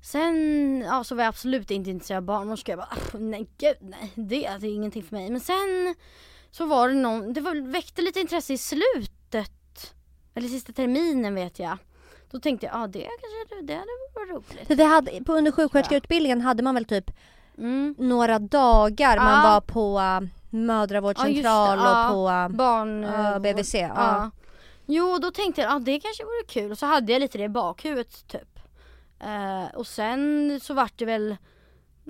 [SPEAKER 2] sen ja, så var jag absolut inte intresserad av barnmorska. Jag bara "Ah, nej gud nej det är alltså ingenting för mig. Men sen så var det någon, det var, väckte lite intresse i slutet. Eller sista terminen vet jag. Då tänkte jag ja ah, det kanske det hade varit roligt.
[SPEAKER 1] För vi hade, på under sjuksköterskeutbildningen hade man väl typ
[SPEAKER 2] Mm.
[SPEAKER 1] några dagar man
[SPEAKER 2] Ja.
[SPEAKER 1] var på äh,
[SPEAKER 2] Ja,
[SPEAKER 1] mödravårdscentral
[SPEAKER 2] just det. Ja.
[SPEAKER 1] och på äh,
[SPEAKER 2] Barn...
[SPEAKER 1] äh,
[SPEAKER 2] eh,
[SPEAKER 1] BVC. Ja.
[SPEAKER 2] Ja. Jo, då tänkte jag att ah, det kanske vore kul och så hade jag lite det i bakhuvudet typ. Eh, och sen så vart det väl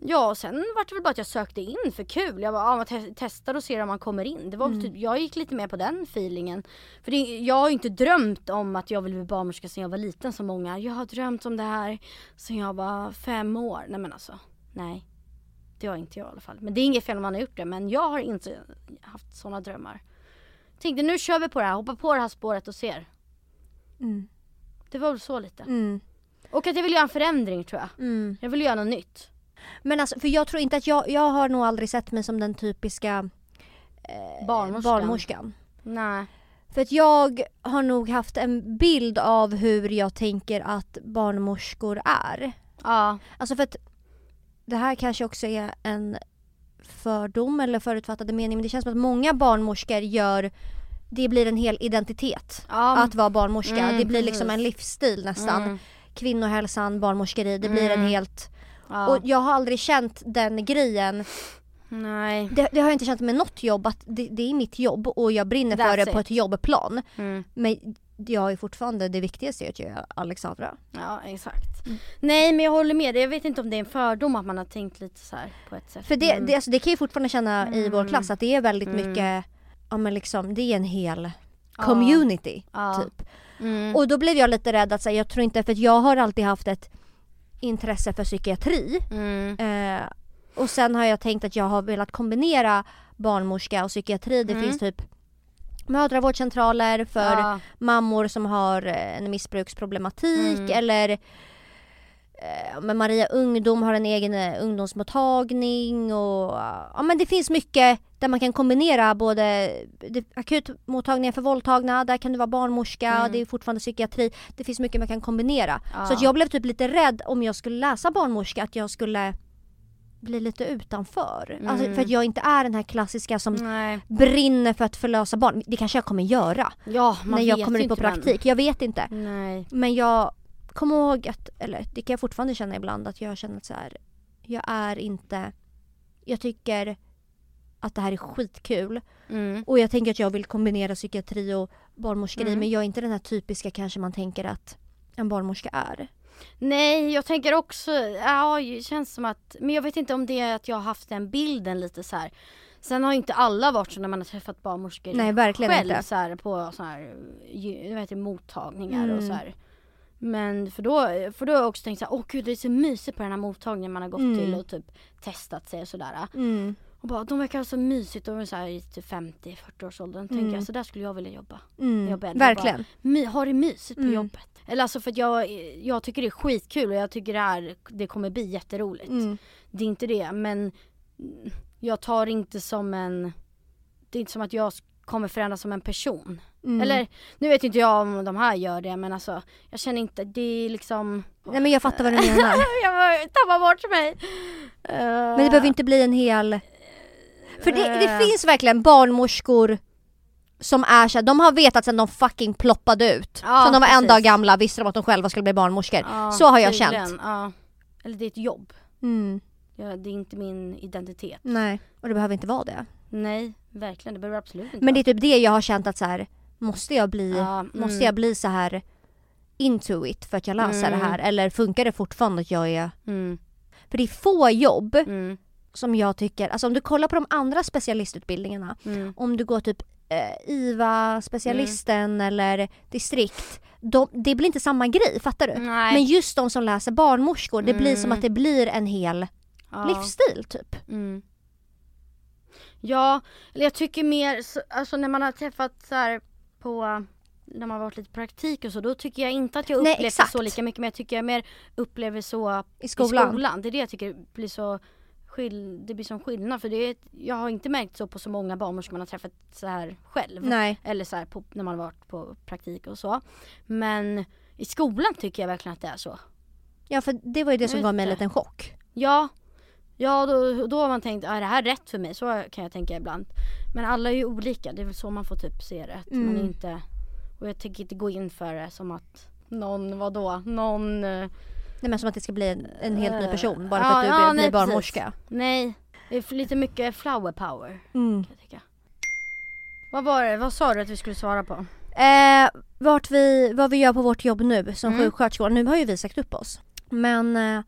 [SPEAKER 2] Ja, sen vart det väl bara att jag sökte in för kul. Jag bara, ja, man te- testar och ser om man kommer in. Det var väl typ, jag gick lite mer på den feelingen. För det, jag har ju inte drömt om att jag vill bli barnmorska sedan jag var liten som många. Jag har drömt om det här sedan jag var fem år. Nej men alltså, nej. Det har inte jag i alla fall. Men det är inget fel om man har gjort det. Men jag har inte haft sådana drömmar. Tänkte nu kör vi på det här, hoppa på det här spåret och ser.
[SPEAKER 1] Mm.
[SPEAKER 2] Det var väl så lite.
[SPEAKER 1] Mm.
[SPEAKER 2] Och att jag vill göra en förändring tror jag.
[SPEAKER 1] Mm.
[SPEAKER 2] Jag vill göra något nytt.
[SPEAKER 1] Men alltså, för jag tror inte att jag, jag har nog aldrig sett mig som den typiska eh,
[SPEAKER 2] Barnmorskan.
[SPEAKER 1] barnmorskan.
[SPEAKER 2] Nej.
[SPEAKER 1] För att jag har nog haft en bild av hur jag tänker att barnmorskor är.
[SPEAKER 2] Ja.
[SPEAKER 1] Alltså för att det här kanske också är en fördom eller förutfattade mening men det känns som att många barnmorskor gör det blir en hel identitet
[SPEAKER 2] ja.
[SPEAKER 1] att vara barnmorska.
[SPEAKER 2] Mm,
[SPEAKER 1] det blir liksom
[SPEAKER 2] precis.
[SPEAKER 1] en livsstil nästan.
[SPEAKER 2] Mm.
[SPEAKER 1] Kvinnohälsan, barnmorskeri, det blir en
[SPEAKER 2] Mm.
[SPEAKER 1] helt...
[SPEAKER 2] Ja.
[SPEAKER 1] Och jag har aldrig känt den grejen.
[SPEAKER 2] Nej.
[SPEAKER 1] Det, det har jag inte känt med något jobb att det, det är mitt jobb och jag brinner för
[SPEAKER 2] That's
[SPEAKER 1] det på
[SPEAKER 2] it.
[SPEAKER 1] ett jobbplan.
[SPEAKER 2] Mm.
[SPEAKER 1] Men jag är fortfarande, det viktigaste är att jag är Alexandra.
[SPEAKER 2] Ja, exakt.
[SPEAKER 1] Mm.
[SPEAKER 2] Nej, men jag håller med dig. Jag vet inte om det är en fördom att man har tänkt lite så här på ett sätt.
[SPEAKER 1] För det,
[SPEAKER 2] men,
[SPEAKER 1] det, alltså, det kan jag fortfarande känna i vår
[SPEAKER 2] Mm.
[SPEAKER 1] klass att det är väldigt
[SPEAKER 2] Mm.
[SPEAKER 1] mycket, ja men liksom det är en hel
[SPEAKER 2] Ja.
[SPEAKER 1] community
[SPEAKER 2] ja.
[SPEAKER 1] typ.
[SPEAKER 2] Mm.
[SPEAKER 1] Och då blev jag lite rädd att säga, jag tror inte, för att jag har alltid haft ett intresse för psykiatri.
[SPEAKER 2] Mm.
[SPEAKER 1] Eh, och sen har jag tänkt att jag har velat kombinera barnmorska och psykiatri. Det
[SPEAKER 2] Mm.
[SPEAKER 1] finns typ mödravårdscentraler för
[SPEAKER 2] ja.
[SPEAKER 1] mammor som har eh, en missbruksproblematik
[SPEAKER 2] Mm.
[SPEAKER 1] eller eh, men Maria Ungdom har en egen eh, ungdomsmottagning och eh, ja men det finns mycket där man kan kombinera både eh, det- akutmottagningar för våldtagna, där kan du vara barnmorska,
[SPEAKER 2] Mm.
[SPEAKER 1] det är fortfarande psykiatri. Det finns mycket man kan kombinera.
[SPEAKER 2] Ja.
[SPEAKER 1] Så att jag blev typ lite rädd om jag skulle läsa barnmorska att jag skulle bli lite utanför. Alltså
[SPEAKER 2] Mm.
[SPEAKER 1] för att jag inte är den här klassiska som
[SPEAKER 2] Nej.
[SPEAKER 1] brinner för att förlösa barn. Det kanske jag kommer göra
[SPEAKER 2] Ja, man
[SPEAKER 1] när
[SPEAKER 2] vet
[SPEAKER 1] jag kommer
[SPEAKER 2] ju
[SPEAKER 1] ut på
[SPEAKER 2] inte, men-
[SPEAKER 1] praktik. Jag vet inte.
[SPEAKER 2] Nej.
[SPEAKER 1] Men jag kommer ihåg att, eller det kan jag fortfarande känna ibland, att jag känner att så här, jag är inte, jag tycker att det här är skitkul
[SPEAKER 2] Mm.
[SPEAKER 1] och jag tänker att jag vill kombinera psykiatri och barnmorskeri
[SPEAKER 2] Mm.
[SPEAKER 1] men jag är inte den här typiska kanske man tänker att en barnmorska är.
[SPEAKER 2] Nej, jag tänker också, ja det känns som att, men jag vet inte om det är att jag har haft den bilden lite så här. Sen har ju inte alla varit så när man har träffat barnmorskor
[SPEAKER 1] Nej verkligen
[SPEAKER 2] själv
[SPEAKER 1] inte.
[SPEAKER 2] så här, på så här, ju- vad heter det, mottagningar och
[SPEAKER 1] Mm.
[SPEAKER 2] så här. Men för då, för då har jag också tänkt så här, åh gud det är så mysigt på den här mottagningen man har gått
[SPEAKER 1] Mm.
[SPEAKER 2] till och typ testat sig och sådär.
[SPEAKER 1] Mm.
[SPEAKER 2] Och bara, de verkar ha så mysigt och de är så här i typ 50-40 års åldern.
[SPEAKER 1] Mm.
[SPEAKER 2] Tänker jag, så där skulle jag vilja jobba.
[SPEAKER 1] Mm.
[SPEAKER 2] Jag började bara-
[SPEAKER 1] Verkligen.
[SPEAKER 2] My, ha det mysigt på
[SPEAKER 1] Mm.
[SPEAKER 2] jobbet. Eller alltså för att jag, jag tycker det är skitkul och jag tycker det här, det kommer bli jätteroligt.
[SPEAKER 1] Mm.
[SPEAKER 2] Det är inte det men jag tar det inte som en, det är inte som att jag kommer förändras som en person.
[SPEAKER 1] Mm.
[SPEAKER 2] Eller nu vet inte jag om de här gör det men alltså jag känner inte, det är liksom
[SPEAKER 1] Nej men jag fattar vad du menar.
[SPEAKER 2] Jag bara tappar bort mig. Eh,
[SPEAKER 1] Men det behöver inte bli en hel... För det, det
[SPEAKER 2] Eh.
[SPEAKER 1] finns verkligen barnmorskor som är såhär, de har vetat sedan de fucking ploppade ut.
[SPEAKER 2] Ja,
[SPEAKER 1] sen de var en
[SPEAKER 2] precis.
[SPEAKER 1] dag gamla visste de att de själva skulle bli barnmorskor.
[SPEAKER 2] ja,
[SPEAKER 1] Så har jag
[SPEAKER 2] tydligen,
[SPEAKER 1] känt.
[SPEAKER 2] Ja. Eller det är ett jobb.
[SPEAKER 1] Mm,
[SPEAKER 2] Ja, det är inte min identitet.
[SPEAKER 1] nej. Och det behöver inte vara det.
[SPEAKER 2] Nej, verkligen. Det behöver absolut inte
[SPEAKER 1] Men det är typ det jag har känt att så här, måste jag bli,
[SPEAKER 2] Ja, mm.
[SPEAKER 1] måste jag bli så här into it för att jag läser
[SPEAKER 2] Mm.
[SPEAKER 1] det här? Eller funkar det fortfarande att jag är...
[SPEAKER 2] vara. Mm,
[SPEAKER 1] För det är få jobb
[SPEAKER 2] mm,
[SPEAKER 1] som jag tycker, alltså om du kollar på de andra specialistutbildningarna
[SPEAKER 2] mm.
[SPEAKER 1] om du går typ eh, IVA-specialisten eller distrikt, de, det blir inte samma grej, fattar du?
[SPEAKER 2] Nej.
[SPEAKER 1] Eh, Men just de som läser barnmorskor, det blir som
[SPEAKER 2] Mm.
[SPEAKER 1] att det blir en hel
[SPEAKER 2] Ja.
[SPEAKER 1] livsstil typ.
[SPEAKER 2] Mm. Ja, eller jag tycker mer, så- alltså när man har träffat så här på när man har varit lite praktik och så, då tycker jag inte att jag
[SPEAKER 1] Nej,
[SPEAKER 2] upplever
[SPEAKER 1] exakt.
[SPEAKER 2] så lika mycket men jag tycker jag mer upplever så
[SPEAKER 1] I skolan.
[SPEAKER 2] i skolan. Det är det jag tycker blir så skill- det blir som skillnad för det är, jag har inte märkt så på så många barnmorskor man har träffat så här själv.
[SPEAKER 1] Nej.
[SPEAKER 2] Eller så här på, när man har varit på praktik och så. Men i skolan tycker jag verkligen att det är så.
[SPEAKER 1] Ja för det var ju det som
[SPEAKER 2] Jag
[SPEAKER 1] gav
[SPEAKER 2] vet
[SPEAKER 1] mig en
[SPEAKER 2] det.
[SPEAKER 1] liten chock.
[SPEAKER 2] Ja, ja då, då har man tänkt, "Ah, är det här rätt för mig? Så kan jag tänka ibland. Men alla är ju olika, det är väl så man får typ se det. Att man
[SPEAKER 1] Mm.
[SPEAKER 2] är inte, och jag tänker inte gå in för det som att någon, vadå, någon, eh,
[SPEAKER 1] Nej men som att det ska bli en, en helt ny
[SPEAKER 2] Eh,
[SPEAKER 1] person bara
[SPEAKER 2] ja,
[SPEAKER 1] för att du
[SPEAKER 2] ja,
[SPEAKER 1] blir-
[SPEAKER 2] nej,
[SPEAKER 1] blir
[SPEAKER 2] precis.
[SPEAKER 1] barnmorska.
[SPEAKER 2] nej. Det är för lite mycket flower power
[SPEAKER 1] Mm.
[SPEAKER 2] kan jag tycka. Vad var det, vad sa du att vi skulle svara på?
[SPEAKER 1] Eh, vart vi, vad vi gör på vårt jobb nu som
[SPEAKER 2] Mm.
[SPEAKER 1] sjuksköterskor, nu har ju vi sagt upp oss. Men eh,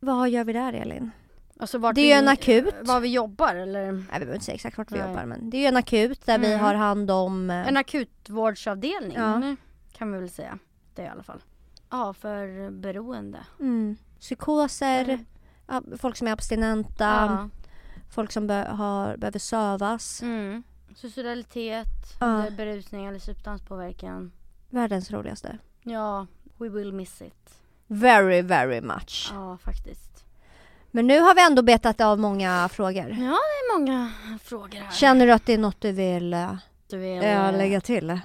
[SPEAKER 1] vad gör vi där Elin?
[SPEAKER 2] Alltså vart
[SPEAKER 1] Det är
[SPEAKER 2] vi,
[SPEAKER 1] ju en akut.
[SPEAKER 2] Var vi jobbar eller?
[SPEAKER 1] Nej vi behöver inte säga exakt vart vi
[SPEAKER 2] Nej.
[SPEAKER 1] jobbar men det är ju en akut där vi
[SPEAKER 2] Mm.
[SPEAKER 1] har hand om eh,
[SPEAKER 2] En akutvårdsavdelning
[SPEAKER 1] Ja.
[SPEAKER 2] eller? kan vi väl säga. Det i alla fall. Ja, för beroende.
[SPEAKER 1] Mm. Psykoser,
[SPEAKER 2] Mm.
[SPEAKER 1] ja, folk som är abstinenta,
[SPEAKER 2] Ja.
[SPEAKER 1] folk som be- har, behöver sövas.
[SPEAKER 2] Mm. Suicidalitet,
[SPEAKER 1] Ja.
[SPEAKER 2] eller berusning eller substanspåverkan.
[SPEAKER 1] Världens roligaste.
[SPEAKER 2] Ja, we will miss it.
[SPEAKER 1] Very, very much.
[SPEAKER 2] Ja, faktiskt.
[SPEAKER 1] Men nu har vi ändå betat av många frågor.
[SPEAKER 2] Ja, nej, många frågor här.
[SPEAKER 1] Känner du att det är något du vill eh,
[SPEAKER 2] Du vill,
[SPEAKER 1] eh, lägga till?
[SPEAKER 2] eh,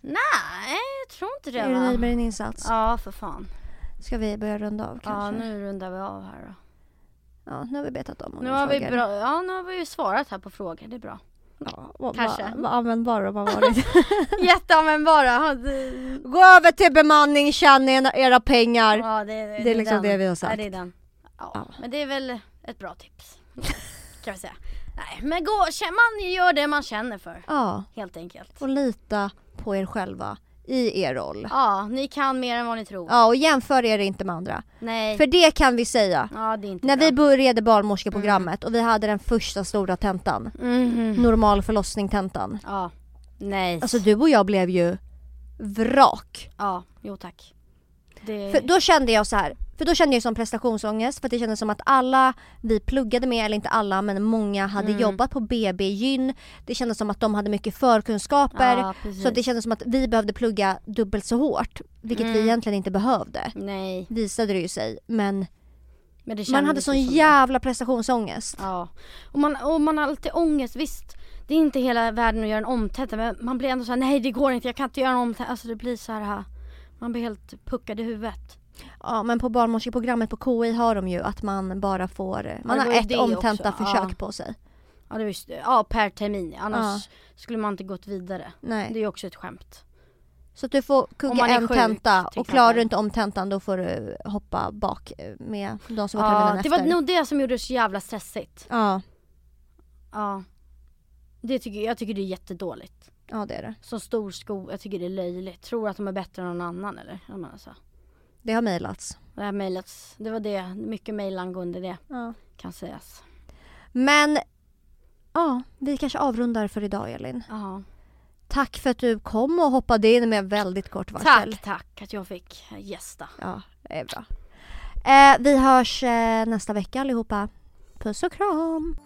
[SPEAKER 2] nej, jag tror inte det
[SPEAKER 1] Är du nöjd
[SPEAKER 2] va?
[SPEAKER 1] med din insats?
[SPEAKER 2] Ja, för fan.
[SPEAKER 1] Ska vi börja runda av kanske?
[SPEAKER 2] Ja, nu rundar vi av här då.
[SPEAKER 1] Ja, nu har vi betat om
[SPEAKER 2] Nu
[SPEAKER 1] många
[SPEAKER 2] har, vi
[SPEAKER 1] frågor.
[SPEAKER 2] bra, ja, nu har vi ju svarat här på frågor, det är bra.
[SPEAKER 1] Ja, vad,
[SPEAKER 2] Kanske.
[SPEAKER 1] Vad, vad användbara de har varit.
[SPEAKER 2] Jätteanvändbara.
[SPEAKER 1] Gå över till bemanning, tjäna era- era pengar.
[SPEAKER 2] Ja, det, är
[SPEAKER 1] Det är liksom
[SPEAKER 2] den.
[SPEAKER 1] det vi har sagt.
[SPEAKER 2] Ja, det är den. Ja,
[SPEAKER 1] Ja.
[SPEAKER 2] men det är väl ett bra tips. kan vi säga. Nej, men gå, man gör det man känner för.
[SPEAKER 1] Ja,
[SPEAKER 2] Helt enkelt.
[SPEAKER 1] och lita på er själva i er roll.
[SPEAKER 2] Ja, ni kan mer än vad ni tror.
[SPEAKER 1] Ja, och jämför er inte med andra.
[SPEAKER 2] Nej.
[SPEAKER 1] För det kan vi säga.
[SPEAKER 2] Ja, Mm. det är inte
[SPEAKER 1] När
[SPEAKER 2] bra.
[SPEAKER 1] vi började barnmorskeprogrammet och vi hade den första stora tentan,
[SPEAKER 2] Mhm.
[SPEAKER 1] normal förlossning-tentan.
[SPEAKER 2] Ja. Nej.
[SPEAKER 1] Alltså du och jag blev ju vrak.
[SPEAKER 2] Ja, jo tack. Det...
[SPEAKER 1] För då kände jag så här. För då kände jag som prestationsångest för att det kändes som att alla vi pluggade med, eller inte alla men många hade
[SPEAKER 2] Mm.
[SPEAKER 1] jobbat på BB gyn. Det kändes som att de hade mycket förkunskaper.
[SPEAKER 2] Ja, precis.
[SPEAKER 1] så att det kändes som att vi behövde plugga dubbelt så hårt. Vilket
[SPEAKER 2] Mm.
[SPEAKER 1] vi egentligen inte behövde.
[SPEAKER 2] Nej.
[SPEAKER 1] Visade det ju sig. Men
[SPEAKER 2] Men det
[SPEAKER 1] man
[SPEAKER 2] kändes
[SPEAKER 1] hade
[SPEAKER 2] ju
[SPEAKER 1] sån
[SPEAKER 2] som det.
[SPEAKER 1] jävla prestationsångest.
[SPEAKER 2] Ja. Och man, och man har alltid ångest, visst. Det är inte hela världen att göra en omtenta men man blir ändå såhär, nej det går inte, jag kan inte göra en omtenta. Alltså det blir så här. man blir helt puckad i huvudet.
[SPEAKER 1] Ja men på barnmorskeprogrammet på KI har de ju att man bara får, man
[SPEAKER 2] det
[SPEAKER 1] har
[SPEAKER 2] var ju
[SPEAKER 1] ett
[SPEAKER 2] det
[SPEAKER 1] omtenta
[SPEAKER 2] också,
[SPEAKER 1] försök
[SPEAKER 2] ja.
[SPEAKER 1] på sig.
[SPEAKER 2] Ja, det var just, ja per termin, annars skulle man inte gått vidare.
[SPEAKER 1] Nej.
[SPEAKER 2] Det är ju också ett skämt.
[SPEAKER 1] Så att du får
[SPEAKER 2] Om
[SPEAKER 1] kugga
[SPEAKER 2] man är
[SPEAKER 1] en
[SPEAKER 2] sjuk,
[SPEAKER 1] tenta
[SPEAKER 2] till
[SPEAKER 1] och klarar du
[SPEAKER 2] exempel.
[SPEAKER 1] inte om tentan då får du hoppa bak eh, med de som var
[SPEAKER 2] Ja,
[SPEAKER 1] terminen
[SPEAKER 2] det
[SPEAKER 1] efter.
[SPEAKER 2] var nog det som gjorde det så jävla stressigt.
[SPEAKER 1] Ja,
[SPEAKER 2] Ja. Det tycker, jag tycker det är jättedåligt.
[SPEAKER 1] ja det är det.
[SPEAKER 2] Så stor sko, jag tycker det är löjligt. Tror att de är bättre än någon annan eller? Jag menar så.
[SPEAKER 1] Det har mejlats.
[SPEAKER 2] Det här mejlet, det var det, mycket mejl angående det
[SPEAKER 1] Ja.
[SPEAKER 2] kan sägas.
[SPEAKER 1] Men ja, vi kanske avrundar för idag Elin.
[SPEAKER 2] Ja.
[SPEAKER 1] Tack för att du kom och hoppade in med väldigt kort varsel.
[SPEAKER 2] Tack, tack att jag fick gästa.
[SPEAKER 1] Ja, det är bra. Eh, vi hörs eh, nästa vecka allihopa. Puss och kram!